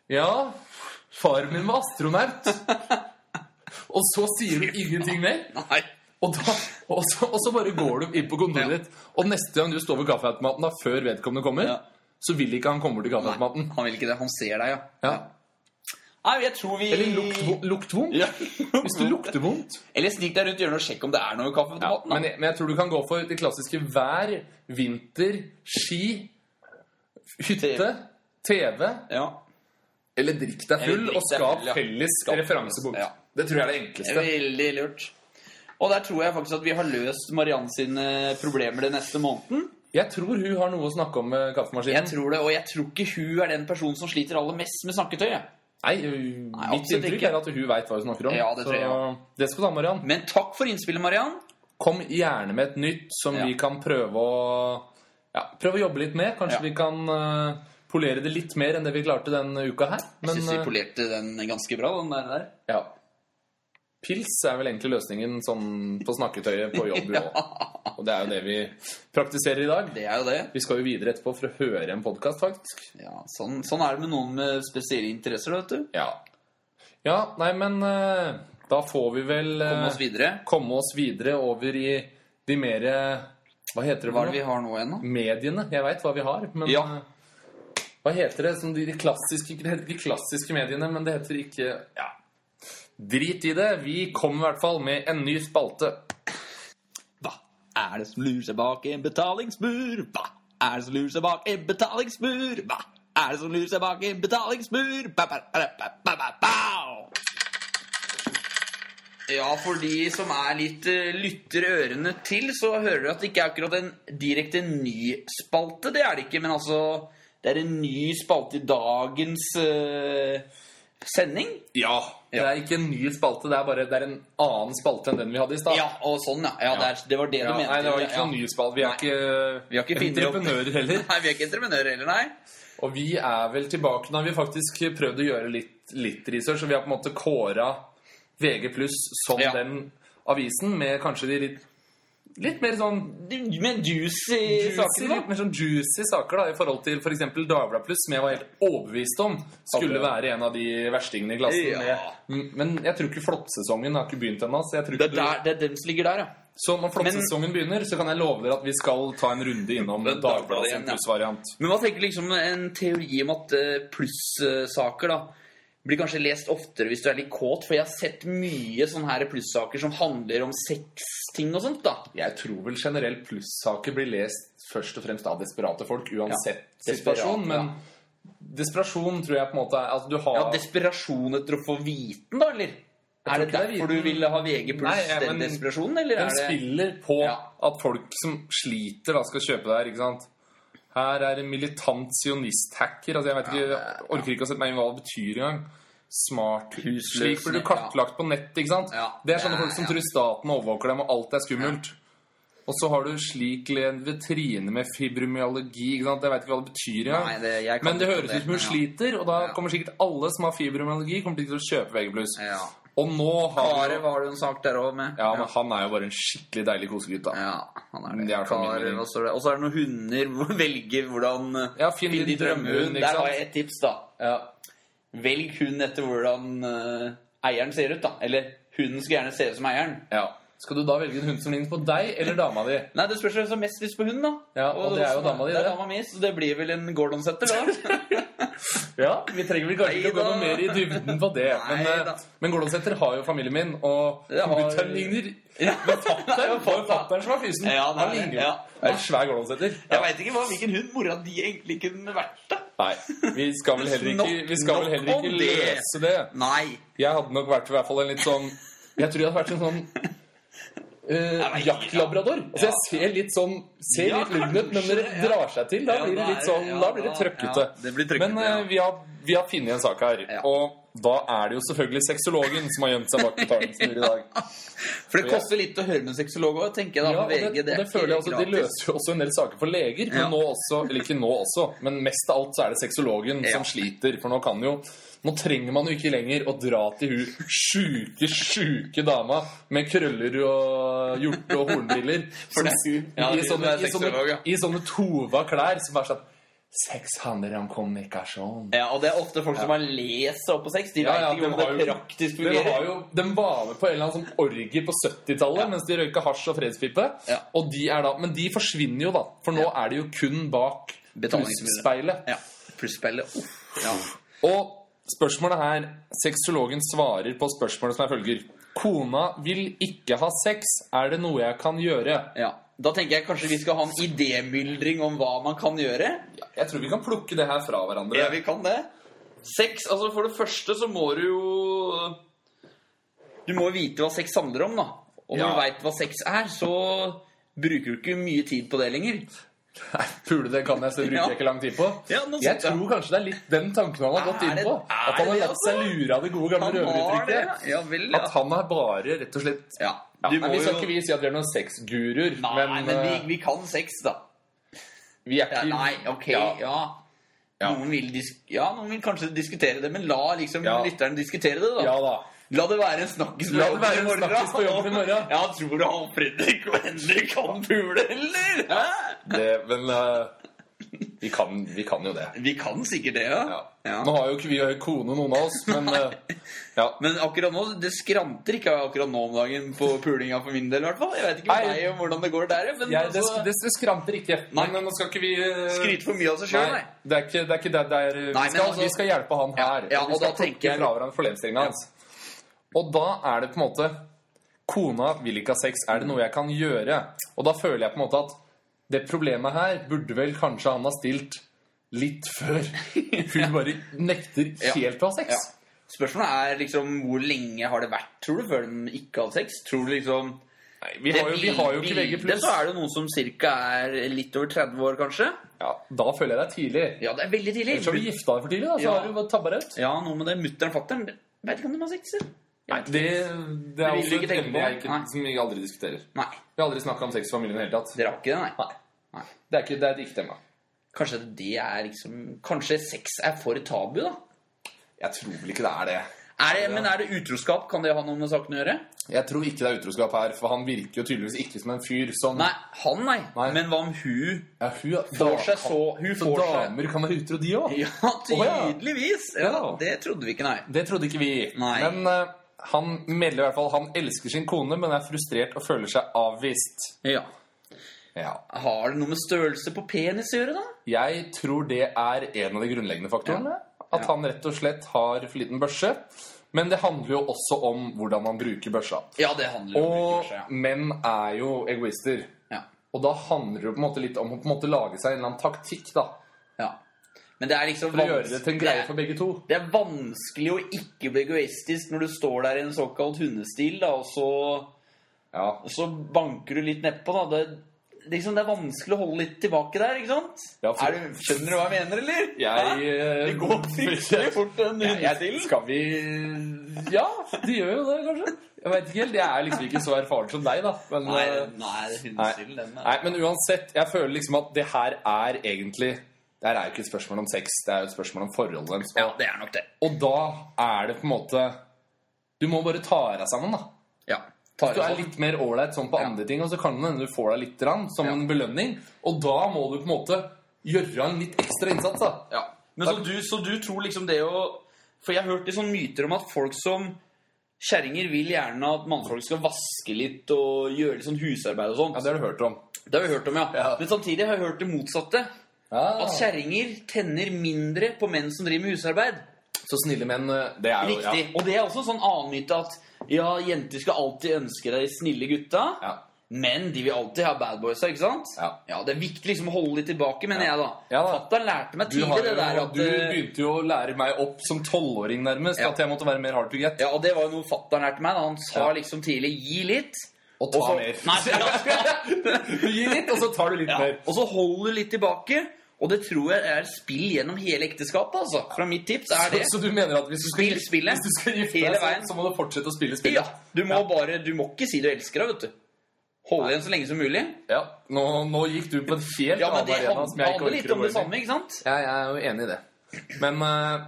C: Ja, faren min var astronaut. og så sier du ingenting mer.
B: ja. [LAUGHS] Nei.
C: Og, da, og, så, og så bare går du inn på kontoret ditt. Og neste gang du står ved kaffeautomaten da, før vedkommende kommer,
B: Ja.
C: så vil ikke han komme bort til
B: Nei,
C: kaffeautomaten.
B: han vil ikke det. Han ser deg, ja.
C: Ja.
B: Nei, jeg tror vi
C: Eller lukt, vo- lukt vondt.
B: [LAUGHS] Ja.
C: Hvis du lukter vondt
B: Eller snik deg rundt hjørnet og sjekk om det er noe kaffe på
C: Ja,
B: tomaten. da.
C: men, jeg, men jeg tror du kan gå for det klassiske vær, vinter, ski, hytte, TV.
B: ja.
C: Eller drikk deg
B: Eller
C: full
B: drikk
C: og
B: deg
C: skap
B: full, ja.
C: felles
B: Skap
C: referansebok.
B: felles, ja.
C: Det tror jeg er det
B: Det
C: enkleste.
B: er veldig lurt. Og der tror jeg faktisk at vi har løst Marianne sine problemer den neste måneden.
C: Jeg tror hun har noe å snakke om eh, med
B: Jeg
C: kaffemaskinen.
B: tror det, Og jeg tror ikke hun er den personen som sliter aller mest med snakketøy. jeg.
C: Nei, hun-
B: Nei,
C: Mitt
B: absolutt
C: inntrykk
B: ikke.
C: er at hun veit hva hun snakker om.
B: Ja, det tror jeg, ja.
C: Så det skal du ha, Mariann.
B: Men takk for innspillet, Mariann.
C: Kom gjerne med et nytt som
B: Ja.
C: vi kan prøve å ja, Prøve å jobbe litt med. Kanskje
B: Ja.
C: vi kan eh, polere det litt mer enn det vi klarte denne uka her.
B: Jeg syns vi
C: eh,
B: polerte den ganske bra. den der, der.
C: Ja. Pils er vel egentlig løsningen sånn på snakketøyet på jobb. jo. Og det er jo det vi praktiserer i dag.
B: Det er jo det.
C: Vi skal jo videre etterpå for å høre en podkast, faktisk.
B: Ja, sånn, sånn er det med noen med spesielle interesser. vet du.
C: Ja. ja, nei, men eh, da får vi vel eh,
B: Komme oss videre.
C: komme oss videre over i de mer eh, Hva heter det?
B: Hva er
C: for
B: det vi
C: noe?
B: har nå igjen, da?
C: Mediene. Jeg veit hva vi har, men
B: Ja.
C: eh, hva heter det? Som de, de, klassiske, det heter de klassiske mediene, men det heter ikke Ja. Drit i det. Vi kommer i hvert fall med en ny spalte.
B: Hva er det som lurer seg bak en betalingsmur? Hva er det som lurer seg bak en betalingsmur? Hva er det som lurer seg bak en betalingsmur? Ba, ba, ba, ba, ba, ba, ba. Ja, for de som er litt eh, lytter ørene til, så hører dere at det ikke er akkurat en direkte ny spalte. Det er det ikke, men altså Det er en ny spalte i dagens eh, sending.
C: Ja. Det er ikke en ny spalte, det er bare det er en annen spalte enn den vi hadde i stad.
B: Ja, og sånn, ja. ja, Det, er, det var det
C: Ja,
B: du mente.
C: nei, det var ikke
B: ja.
C: noen ny spalte. Vi er ikke,
B: Vi har ikke funnet opp-
C: entreprenører heller.
B: [LAUGHS] Nei, vi er ikke entreprenører heller, nei.
C: Og vi er vel tilbake nå. har Vi faktisk prøvd å gjøre litt, litt research, og vi har på en måte kåra VG pluss som
B: Ja.
C: den avisen med kanskje de litt Litt mer sånn
B: Du- Med juice i
C: juicy,
B: saken,
C: litt
B: da?
C: mer sånn juicy saker da, i forhold til f.eks. Dagbladet Pluss, som jeg var helt overbevist om skulle være en av de verstingene i klassen.
B: Ja.
C: Men- Men jeg tror ikke flåttsesongen har ikke begynt ennå. så jeg tror
B: Det er,
C: ikke du-
B: der, det er dem som ligger der, ja.
C: Så når flåttsesongen begynner, så kan jeg love dere at vi skal ta en runde innom
B: Men Dagbladet
C: Dagbladet sin
B: igjen, ja.
C: plussvariant.
B: Men hva tenker du liksom en teori om at eh, plussaker da blir kanskje lest oftere hvis du er litt kåt? For jeg har sett mye sånne her plussaker som handler om sexting og sånt, da.
C: Jeg tror vel generelt plussaker blir lest først og fremst av desperate folk, uansett
B: Ja, desperat,
C: situasjon. Men desperasjon tror jeg på en måte er altså, du har,
B: Ja, Desperasjon etter å få viten, da, eller? Er det
C: tror ikke det er
B: derfor du vil ha VG pluss
C: Nei,
B: den
C: men-
B: desperasjonen, eller
C: Den
B: er det
C: spiller på
B: Ja.
C: at folk som sliter, da skal kjøpe det her. ikke sant? Her er en militant sionist-hacker. altså Jeg vet ikke, jeg orker ikke å sette meg inn i hva det betyr engang. Smart
B: Husløs
C: Slik blir du
B: nett,
C: kartlagt på nettet. ikke sant?
B: Ja.
C: Det er sånne
B: Ja,
C: folk som
B: ja.
C: tror staten overvåker dem, og alt er skummelt. Og så har du slik en vetrine med fibromyalgi. ikke sant? Jeg vet ikke hva det betyr engang.
B: Nei, det- jeg kan
C: Men det
B: ikke om
C: høres
B: det,
C: ut som
B: men
C: hun
B: ja.
C: sliter, og da
B: Ja.
C: kommer sikkert alle som har fibromyalgi, kommer til å kjøpe VG+.
B: Ja.
C: Og nå har
B: Are var det jo en sak der òg med.
C: Ja, men han er jo bare en skikkelig deilig kosegutt, da.
B: Ja, han er det.
C: Det er i hvert fall min
B: Kar,
C: mening.
B: hva står det? Og så er det noen hunder. [LAUGHS] hvor Velge hvordan eh,
C: Ja, finn
B: finn
C: din
B: din drømmehund.
C: drømmehund, ikke
B: Der
C: sant?
B: har jeg et tips, da. Velg hund etter hvordan eh, eieren ser ut, da. Eller hunden skal gjerne se ut som eieren.
C: Ja. Skal du da velge en hund som ligner på deg eller dama di?
B: Nei, det spørs hvem som har mest lyst på hund, da.
C: Ja, og det er jo dama di,
B: det. er
C: det.
B: dama mi, så det blir vel en [LAUGHS] Gordon-setter, da.
C: Ja, Vi trenger vel kanskje ikke å gå
B: Neida.
C: noe mer i dybden på det. Men, eh,
B: Neida.
C: men Gordonsæter har jo familien min, og
B: Det har-
C: Guttorm ligner
B: ja.
C: Det er jo fatter'n som er fysen.
B: Ja, det er
C: han
B: det.
C: ligner jo.
B: Ja.
C: Han er svær Gordonsæter.
B: Jeg veit ikke hva, hvilken hund mora di egentlig kunne vært, da.
C: Nei, vi skal vel heller ikke, vi skal vel heller
B: Nok
C: ikke
B: om det.
C: løse det.
B: Nei.
C: Jeg hadde nok vært i hvert fall en litt sånn Jeg tror jeg hadde vært en sånn
B: Jeg vet
C: uh,
B: ikke,
C: jaktlabrador. Altså, jeg ser litt sånn Ser
B: Ja,
C: litt lugn ut, men når det
B: kanskje, ja.
C: drar seg til, da
B: Ja,
C: blir det
B: da
C: litt
B: er-
C: sånn
B: ja,
C: Da blir det
B: da-
C: trøkkete.
B: ja, det blir trøkkete,
C: Men
B: ja.
C: eh, vi har, vi har funnet en sak her,
B: Ja.
C: og da er det jo selvfølgelig sexologen som har gjemt seg bak betalens mur i dag.
B: For det koster litt å høre med sexolog òg, tenker jeg da.
C: Ja,
B: på
C: og det,
B: VG,
C: og det
B: er ikke
C: føler jeg også, De
B: gratis.
C: løser jo også en del saker for leger, men
B: Ja.
C: nå også, eller ikke nå også, men mest av alt så er det sexologen
B: Ja.
C: som sliter. For nå kan jo Nå trenger man jo ikke lenger å dra til hun sjuke, sjuke dama med krøller og hjorte og hornbriller
B: For det er hun. Ja,
C: i,
B: hun
C: sånne,
B: er
C: i, sånne,
B: sexolog, ja.
C: i sånne tova klær som bare sånn Sex handler om kommunikasjon.
B: Ja, og det er ofte folk som har lest seg opp på sex. De
C: Ja,
B: vet
C: ja,
B: ikke
C: de har
B: hvordan det
C: jo-
B: praktisk
C: Den,
B: fungerer.
C: har jo, den var med på en eller annen sånn orgie på 70-tallet mens de røyka hasj og fredspipe.
B: Ja.
C: Og de er da, men de forsvinner jo, da. For nå er de jo kun bak
B: Betalingsmuren.
C: husspeilet.
B: Ja. Plusspillet. Uff. Ja.
C: Og spørsmålet her Sexologen svarer på spørsmålet som er følger. Kona vil ikke ha sex. Er det noe jeg kan gjøre?
B: ja. Da tenker jeg kanskje vi skal ha en idémyldring om hva man kan gjøre.
C: Jeg tror vi kan plukke det her fra hverandre.
B: Ja, vi kan det. Sex, altså For det første så må du jo Du må jo vite hva sex handler om, da. Og når
C: Ja.
B: du veit hva sex er, så bruker du ikke mye tid på det lenger.
C: Nei, Pule, det kan jeg, så det bruker
B: Ja.
C: jeg ikke lang tid på.
B: Ja, nå
C: jeg
B: sitter jeg.
C: tror kanskje det er litt den tanken han har gått
B: Er
C: inn
B: det-
C: på.
B: er
C: At han har
B: det
C: latt seg
B: altså?
C: lure av det gode gamle røveruttrykket.
B: ja. Ja vel, ja.
C: At han er bare rett og slett
B: ja.
C: ja,
B: Du
C: nei,
B: må
C: Vi skal
B: jo
C: ikke vi si at vi er noen sexguruer,
B: Nei,
C: men,
B: men, vi,
C: eh,
B: vi kan sex, da.
C: vi er
B: Ja,
C: ikke
B: nei, ok, ja.
C: Ja. Ja.
B: Noen vil dis ja, noen vil kanskje diskutere det, men la liksom
C: Ja.
B: lytteren diskutere det, da.
C: Ja da.
B: La det være en snakkis på
C: La det være en
B: jobben i morgen,
C: snakkis på
B: da.
C: jobben i morgen.
B: [LAUGHS] Ja, tror du han Fredrik og Henrik kan pule, eller? Hæ?
C: Det, men eh, vi, kan, vi kan jo det.
B: Vi kan sikkert det, ja.
C: Ja.
B: Ja.
C: Nå har jo ikke vi kone, noen av oss, men eh, ja.
B: Men akkurat nå, det skranter ikke akkurat nå om dagen på pulinga for min del, i hvert fall. Jeg vet ikke med
C: Nei.
B: meg om hvordan det går der, men
C: [LAUGHS] Jeg, det,
B: altså,
C: det, det skranter ikke.
B: Nei.
C: Men nå skal ikke vi eh,
B: skryte for mye av seg sjøl,
C: Nei,
B: nei.
C: det er ikke det, er ikke det det er,
B: Nei,
C: vi, skal,
B: men altså-
C: vi skal hjelpe han her.
B: Ja,
C: vi
B: og da
C: skal
B: tenker jeg-
C: fra hverandre problemstillingene hans. Og da er det på en måte Kona vil ikke ha sex. Er det noe jeg kan gjøre? Og da føler jeg på en måte at det problemet her burde vel kanskje han ha stilt litt før.
B: [LAUGHS]
C: Hun bare nekter
B: Ja.
C: helt å ha sex.
B: Ja. Spørsmålet er liksom hvor lenge har det vært, tror du, før de ikke hadde sex? Tror du liksom
C: Nei, vi, har jo, vi har jo ikke VG+.
B: bildet, Så er det noen som cirka er litt over 30 år, kanskje.
C: Ja, da føler jeg det er tidlig.
B: Ja, det er veldig tidlig.
C: Ellers har du gifta deg for tidlig, da, så
B: Ja.
C: har du bare tabba deg ut.
B: Ja, noe med det. Mutter'n fatter'n veit ikke om de har sex. eller?
C: Nei, det, det er
B: vil
C: også
B: ikke
C: et
B: tenke på.
C: emne jeg ikke,
B: Nei.
C: som vi aldri diskuterer.
B: Nei,
C: Vi har aldri snakka om sex i familien i det hele tatt.
B: dere har ikke det, nei.
C: Nei.
B: Nei.
C: Det er, ikke, det er et ikke-tema.
B: Kanskje det er liksom Kanskje sex er for tabu, da?
C: Jeg tror vel ikke det er det.
B: Er det, men er det utroskap? Kan det ha noe med saken å gjøre?
C: Jeg tror ikke det er utroskap her, for han virker jo tydeligvis ikke som en fyr som
B: Nei, han nei.
C: Nei.
B: Men hva om hun
C: ja, hun,
B: får seg så Hun
C: Så
B: får seg
C: damer kan være utro, de òg?
B: Ja,
C: ja.
B: tydeligvis! Ja,
C: Ja.
B: Det trodde vi ikke, nei.
C: Det trodde ikke vi.
B: Nei.
C: Men eh, han melder i hvert fall han elsker sin kone, men er frustrert og føler seg avvist.
B: Ja.
C: Ja.
B: Har det noe med størrelse på penis å gjøre, da?
C: Jeg tror det er en av de grunnleggende faktorene. At
B: Ja.
C: han rett og slett har for liten børse. Men det handler jo også om hvordan man bruker børsa.
B: Ja, det handler om
C: Og
B: utgjørelse,
C: menn er jo egoister.
B: ja. ja.
C: Og da handler det jo på en måte litt om å på en måte lage seg en eller annen taktikk, da.
B: Ja. Men det er liksom
C: For å gjøre det til en greie
B: det er-
C: for begge to.
B: det er vanskelig å ikke bli egoistisk når du står der i en såkalt hundestil, da, og så,
C: Ja.
B: og så banker du litt nedpå. Da. Det, det, er liksom, det er vanskelig å holde litt tilbake der, ikke sant?
C: Ja, for-
B: er du, skjønner du hva jeg mener, eller?
C: [LAUGHS] Jeg
B: Hæ?
C: eh,
B: Det går fryktelig fort, den
C: jeg- jeg-
B: hundestilen.
C: Skal vi Ja, de gjør jo det, kanskje. Jeg vet ikke helt. Jeg er liksom ikke så erfaren som deg, da. Men,
B: Nei,
C: eh,
B: nei, hundestilen, den altså. er
C: Nei, men uansett, jeg føler liksom at det her er egentlig Det her er jo ikke et spørsmål om sex, det er jo et spørsmål om forholdet deres.
B: Ja, det er nok det.
C: Og da er det på en måte Du må bare ta deg sammen, da.
B: Ja.
C: Hvis du er litt mer ålreit sånn på
B: Ja.
C: andre ting, og så kan det hende du får deg litt rann, som
B: Ja.
C: en belønning. Og da må du på en måte gjøre en litt ekstra innsats, da.
B: Ja. Men så du, så du tror liksom det å For jeg har hørt litt sånn myter om at folk som Kjerringer vil gjerne at mannfolk skal vaske litt og gjøre litt sånn husarbeid og sånn.
C: Ja, Det har du hørt om.
B: Det har vi hørt om, ja.
C: Ja.
B: Men samtidig har jeg hørt det motsatte. At kjerringer tenner mindre på menn som driver med husarbeid.
C: Så snille menn, eh, det er jo
B: Riktig. Og det er også en sånn annen myte at ja, jenter skal alltid ønske deg de snille gutta.
C: Ja.
B: Men de vil alltid ha bad boysa, ikke sant?
C: Ja.
B: Det er viktig liksom å holde litt tilbake, mener jeg, da.
C: Ja da.
B: Fatter'n lærte meg
C: Du, har
B: tidlig det
C: jo,
B: der at
C: du
B: eh,
C: begynte jo å lære meg opp som tolvåring, nærmest,
B: Ja.
C: at jeg måtte være mer hard to get.
B: Ja, og det var jo noe fatter'n lærte meg. da Han sa
C: Ja.
B: liksom tidlig 'gi litt'.
C: Og ta
B: så-
C: mer.
B: Nei,
C: Du [LAUGHS] gir [LAUGHS] litt, og så tar du litt
B: ja.
C: mer.
B: Og så holder du litt tilbake. Og det tror jeg er spill gjennom hele ekteskapet. altså Fra mitt tips er det.
C: Så, så du mener at hvis du skal,
B: Spill spillet
C: hvis du skal gifte
B: hele
C: deg, så,
B: veien.
C: så må du fortsette å spille
B: Ja,
C: spillet?
B: Du må bare, du må ikke si du elsker henne, vet du. Holde igjen så lenge som mulig.
C: Ja. Nå, nå gikk du på en helt
B: Ja, men
C: annen
B: Det
C: arena som jeg ikke
B: handler litt
C: orker å
B: om
C: gå
B: det
C: inn i.
B: samme, ikke sant?
C: Ja, jeg er jo enig i det. Men eh,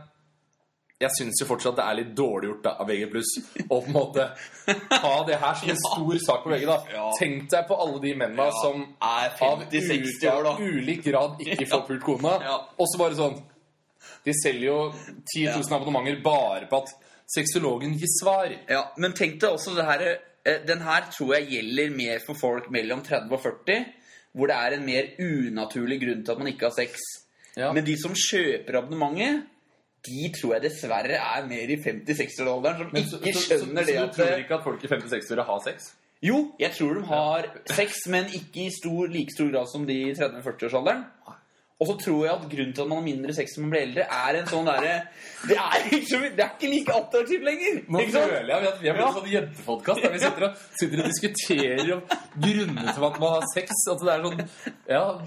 C: jeg syns jo fortsatt det er litt dårlig gjort da, av VG+. Å på en måte ha det her
B: [LAUGHS]
C: som en stor sak på VG. da.
B: Ja.
C: Tenk deg på alle de mennene som
B: Er 50-60
C: av ulik-
B: år, da.
C: ulik grad ikke får pult
B: [LAUGHS]
C: kona.
B: Ja.
C: Og så bare sånn De selger jo 10 000 abonnementer bare på at sexologen gir svar.
B: Ja, Men tenk deg også det her eh, Den her tror jeg gjelder mer for folk mellom 30 og 40, hvor det er en mer unaturlig grunn til at man ikke har sex.
C: Ja.
B: Men de som kjøper abonnementet, de tror jeg dessverre er mer i 50-60-årsalderen, som
C: Men så-
B: ikke
C: så- så-
B: skjønner
C: så,
B: det
C: du
B: at
C: tror ikke at folk i 50-60-åra har sex?
B: Jo, jeg tror de har sex, men ikke i stor, like stor grad som de i 30-40-årsalderen. Og så tror jeg at grunnen til at man har mindre sex når man blir eldre, er en sånn derre det, er ikke så- det er ikke like attraktivt lenger!
C: Nå
B: Ikke sant?
C: føler jeg at vi er blitt en sånn jentepodkast der vi sitter og, sitter og diskuterer om grunnene til at man har sex. At det er sånn Ja,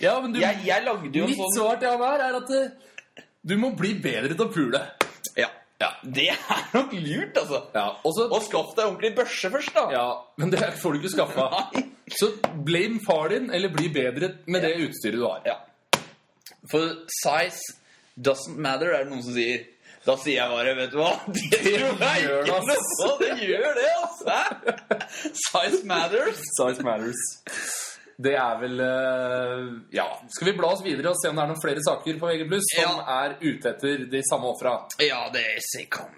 C: ja men du,
B: Jeg, jeg lagde jo en
C: mitt
B: sånn
C: svar til han her er at eh, du må bli bedre til å pule.
B: Ja. Det er nok lurt, altså.
C: Ja, og så
B: Og skaff deg ordentlig børse først, da.
C: Ja, men det får du ikke skaffa.
B: Nei.
C: Så blame far din, eller bli bedre med det utstyret du har.
B: Ja. For size doesn't matter, er det noen som sier. Da sier jeg bare, vet du hva [LAUGHS] Det tror jeg
C: gjør det,
B: ikke
C: ass.
B: noe på! Det gjør det, altså! Size matters.
C: Size matters. Det er vel eh, Ja. Skal vi bla oss videre og se om det er noen flere saker på VG+, som
B: Ja.
C: er ute etter de samme ofra?
B: Ja, det er sikkon.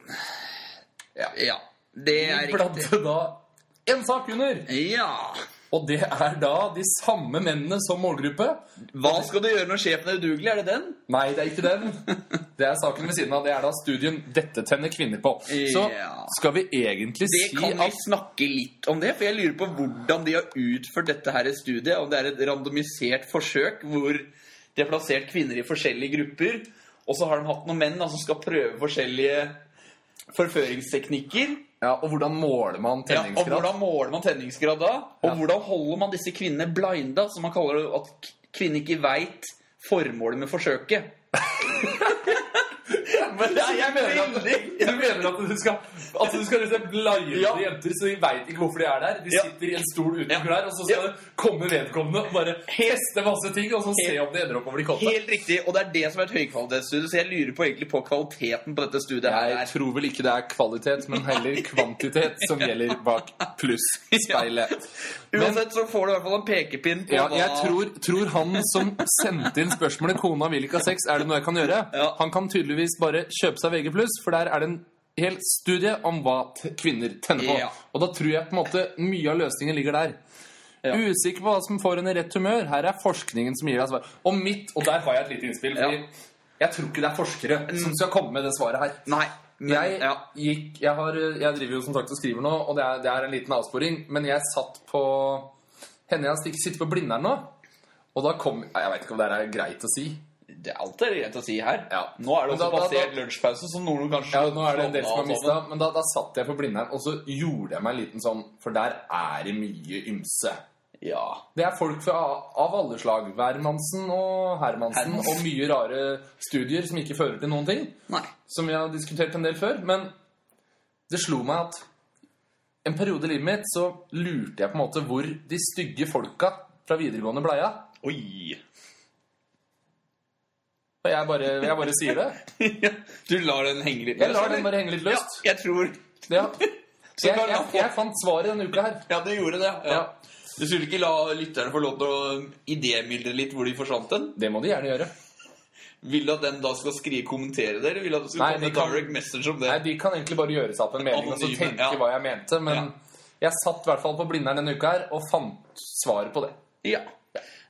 C: Ja.
B: Ja. Det er riktig.
C: Bladde da en sak under,
B: Ja.
C: og det er da de samme mennene som målgruppe.
B: Hva skal du gjøre når sjefen er udugelig? Er det den?
C: Nei, det er ikke den. Det er saken ved siden av. Det er da studien 'Dette tenner kvinner på'. Så
B: Ja.
C: skal vi egentlig
B: Det
C: si
B: kan vi
C: at
B: snakke litt om det, for jeg lurer på hvordan de har utført dette her i studiet. Om det er et randomisert forsøk hvor de har plassert kvinner i forskjellige grupper, og så har de hatt noen menn da, som skal prøve forskjellige forføringsteknikker.
C: ja, Og hvordan måler man
B: Ja, og
C: tenningsgrad?
B: hvordan måler man tenningsgrad da? Og hvordan holder man disse kvinnene blinda, som man kaller det, at k- kvinner ikke veit formålet med forsøket? Men det er jeg
C: mener at-
B: veldig
C: Du mener at du skal, at du skal liksom blinde
B: Ja.
C: jenter, så de veit ikke hvorfor de er der. De
B: Ja.
C: sitter i en stol uten
B: Ja.
C: klær, og så skal
B: Ja.
C: det komme vedkommende og bare teste masse ting, og så se om det ender opp over de kåte.
B: Helt riktig, og det er det som er et høykvalitetsstudie, så jeg lurer på egentlig på kvaliteten på dette studiet
C: Jeg
B: her.
C: tror vel ikke det er kvalitet, men heller kvantitet som gjelder bak pluss-speilet. Men
B: Uansett så får du i hvert fall en pekepinn på
C: ja,
B: hva
C: jeg tror, tror han som sendte inn spørsmålet 'Kona vil ikke ha sex, er det noe jeg kan gjøre?'
B: Ja.
C: Han kan tydeligvis bare kjøpe seg VG+, for der er det en hel studie om hva t kvinner tenner på.
B: Ja.
C: Og da tror jeg på en måte mye av løsningen ligger der.
B: Ja.
C: Usikker på hva som får henne i rett humør. Her er forskningen som gir deg svar. Og mitt, og der har jeg et lite innspill, fordi
B: Ja.
C: jeg tror ikke det er forskere som skal komme med det svaret her.
B: Nei, men,
C: Jeg,
B: ja.
C: gikk, jeg, har, jeg driver jo som sagt og skriver nå, og det er, det er en liten avsporing. Men jeg satt på Henne jeg stik- sitter på Blindern nå. Og da kom Jeg vet ikke om det her er greit å si.
B: det, alt er greit å si her.
A: Ja.
B: Nå er det
C: Men da-
B: også
C: da-
B: passert lunsjpause, som noen kanskje
C: Ja, nå er det en del som har
B: Sånn,
C: mista, men da, da satt jeg på Blindern, og så gjorde jeg meg en liten sånn For der er det mye ymse.
B: Ja.
C: Det er folk fra, av alle slag. Wermansen og Hermansen
B: Hermansen.
C: og mye rare studier som ikke fører til noen ting.
B: Nei.
C: Som vi har diskutert en del før. Men det slo meg at en periode i livet mitt så lurte jeg på en måte hvor de stygge folka fra videregående bleia.
B: Oi. [LAUGHS]
C: Og jeg bare, jeg bare
B: [LAUGHS]
C: sier det.
B: du lar den henge litt
C: Jeg lar den bare henge litt løst.
B: Ja, jeg tror [LAUGHS]
C: Ja. Jeg, jeg, jeg fant svaret denne uka her.
B: Ja, du gjorde det. Ja.
C: Ja.
B: Du skulle ikke la lytterne få lov til å idémyldre litt hvor de forsvant den?
C: Det må de gjerne gjøre.
B: Vil du at den da skal skrive kommentere det, eller vil du at du skal
C: Nei,
B: komme
C: de
B: med
C: kan-
B: direct message om det?
C: Nei, De kan egentlig bare gjøre seg opp en mening og så
B: Anonyme,
C: tenke
B: ja.
C: hva jeg mente. Men jeg satt i hvert fall på Blindern denne uka her og fant svaret på det.
B: Ja.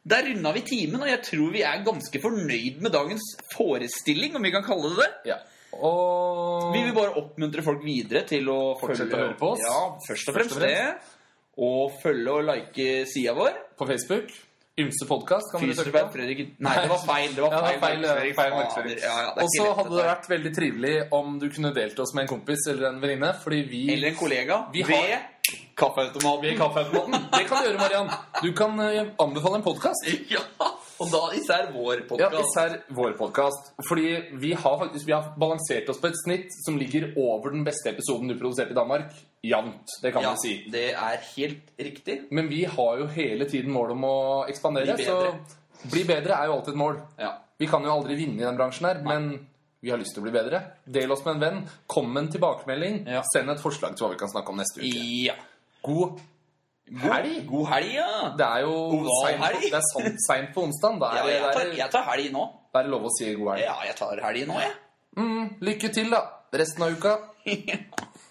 B: Der runda vi timen, og jeg tror vi er ganske fornøyd med dagens forestilling, om vi kan kalle det det.
C: Ja. Og
B: Vi vil bare oppmuntre folk videre til å
C: Fortsette
B: følge-
C: å høre på oss.
B: Ja, først og
C: Først
B: fremst,
C: og
B: det. Og følge og like sida vår.
C: på Facebook Ymse podkast kan dere søke
B: Fysioterapeuter
C: på.
B: Fredrik Nei, det var feil. Det var
C: Ja,
B: feil,
C: det var feil,
B: markedsføring. Fader,
C: feil
B: ja, ja, det er
C: Og så
B: ikke lett,
C: hadde det
B: dette her.
C: vært veldig trivelig om du kunne delt oss med en kompis eller en venninne. Fordi vi
B: Eller en kollega
C: Vi har-
B: ved kaffeautomaten.
C: ved kaffeautomaten. Det kan du gjøre, Mariann. Du kan eh, anbefale en podkast.
B: [LAUGHS] Ja, og da især vår
C: Ja,
B: podkast.
C: især vår podkast. Fordi vi har faktisk vi har balansert oss på et snitt som ligger over den beste episoden du produserte i Danmark. Jevnt. Det kan
B: Ja,
C: man si.
B: det er helt riktig.
C: Men vi har jo hele tiden mål om å ekspandere,
B: Bli bedre.
C: så bli bedre er jo alltid et mål.
B: Ja.
C: Vi kan jo aldri vinne i den bransjen her, men vi har lyst til å bli bedre. Del oss med en venn. Kom med en tilbakemelding.
B: Ja.
C: Send et forslag til hva vi kan snakke om neste uke.
B: ja.
C: God helg!
B: God helg, ja.
C: Det er jo
B: Oval
C: seint på,
B: helg.
C: det er sånn seint på onsdag. Da
B: ja
C: er,
B: jeg,
C: det-
B: tar,
C: det,
B: jeg tar helg nå.
C: er, det er lov å si god helg.
B: Ja, jeg tar helg nå, jeg. [LAUGHS]
C: Mm, lykke til, da. Resten av uka.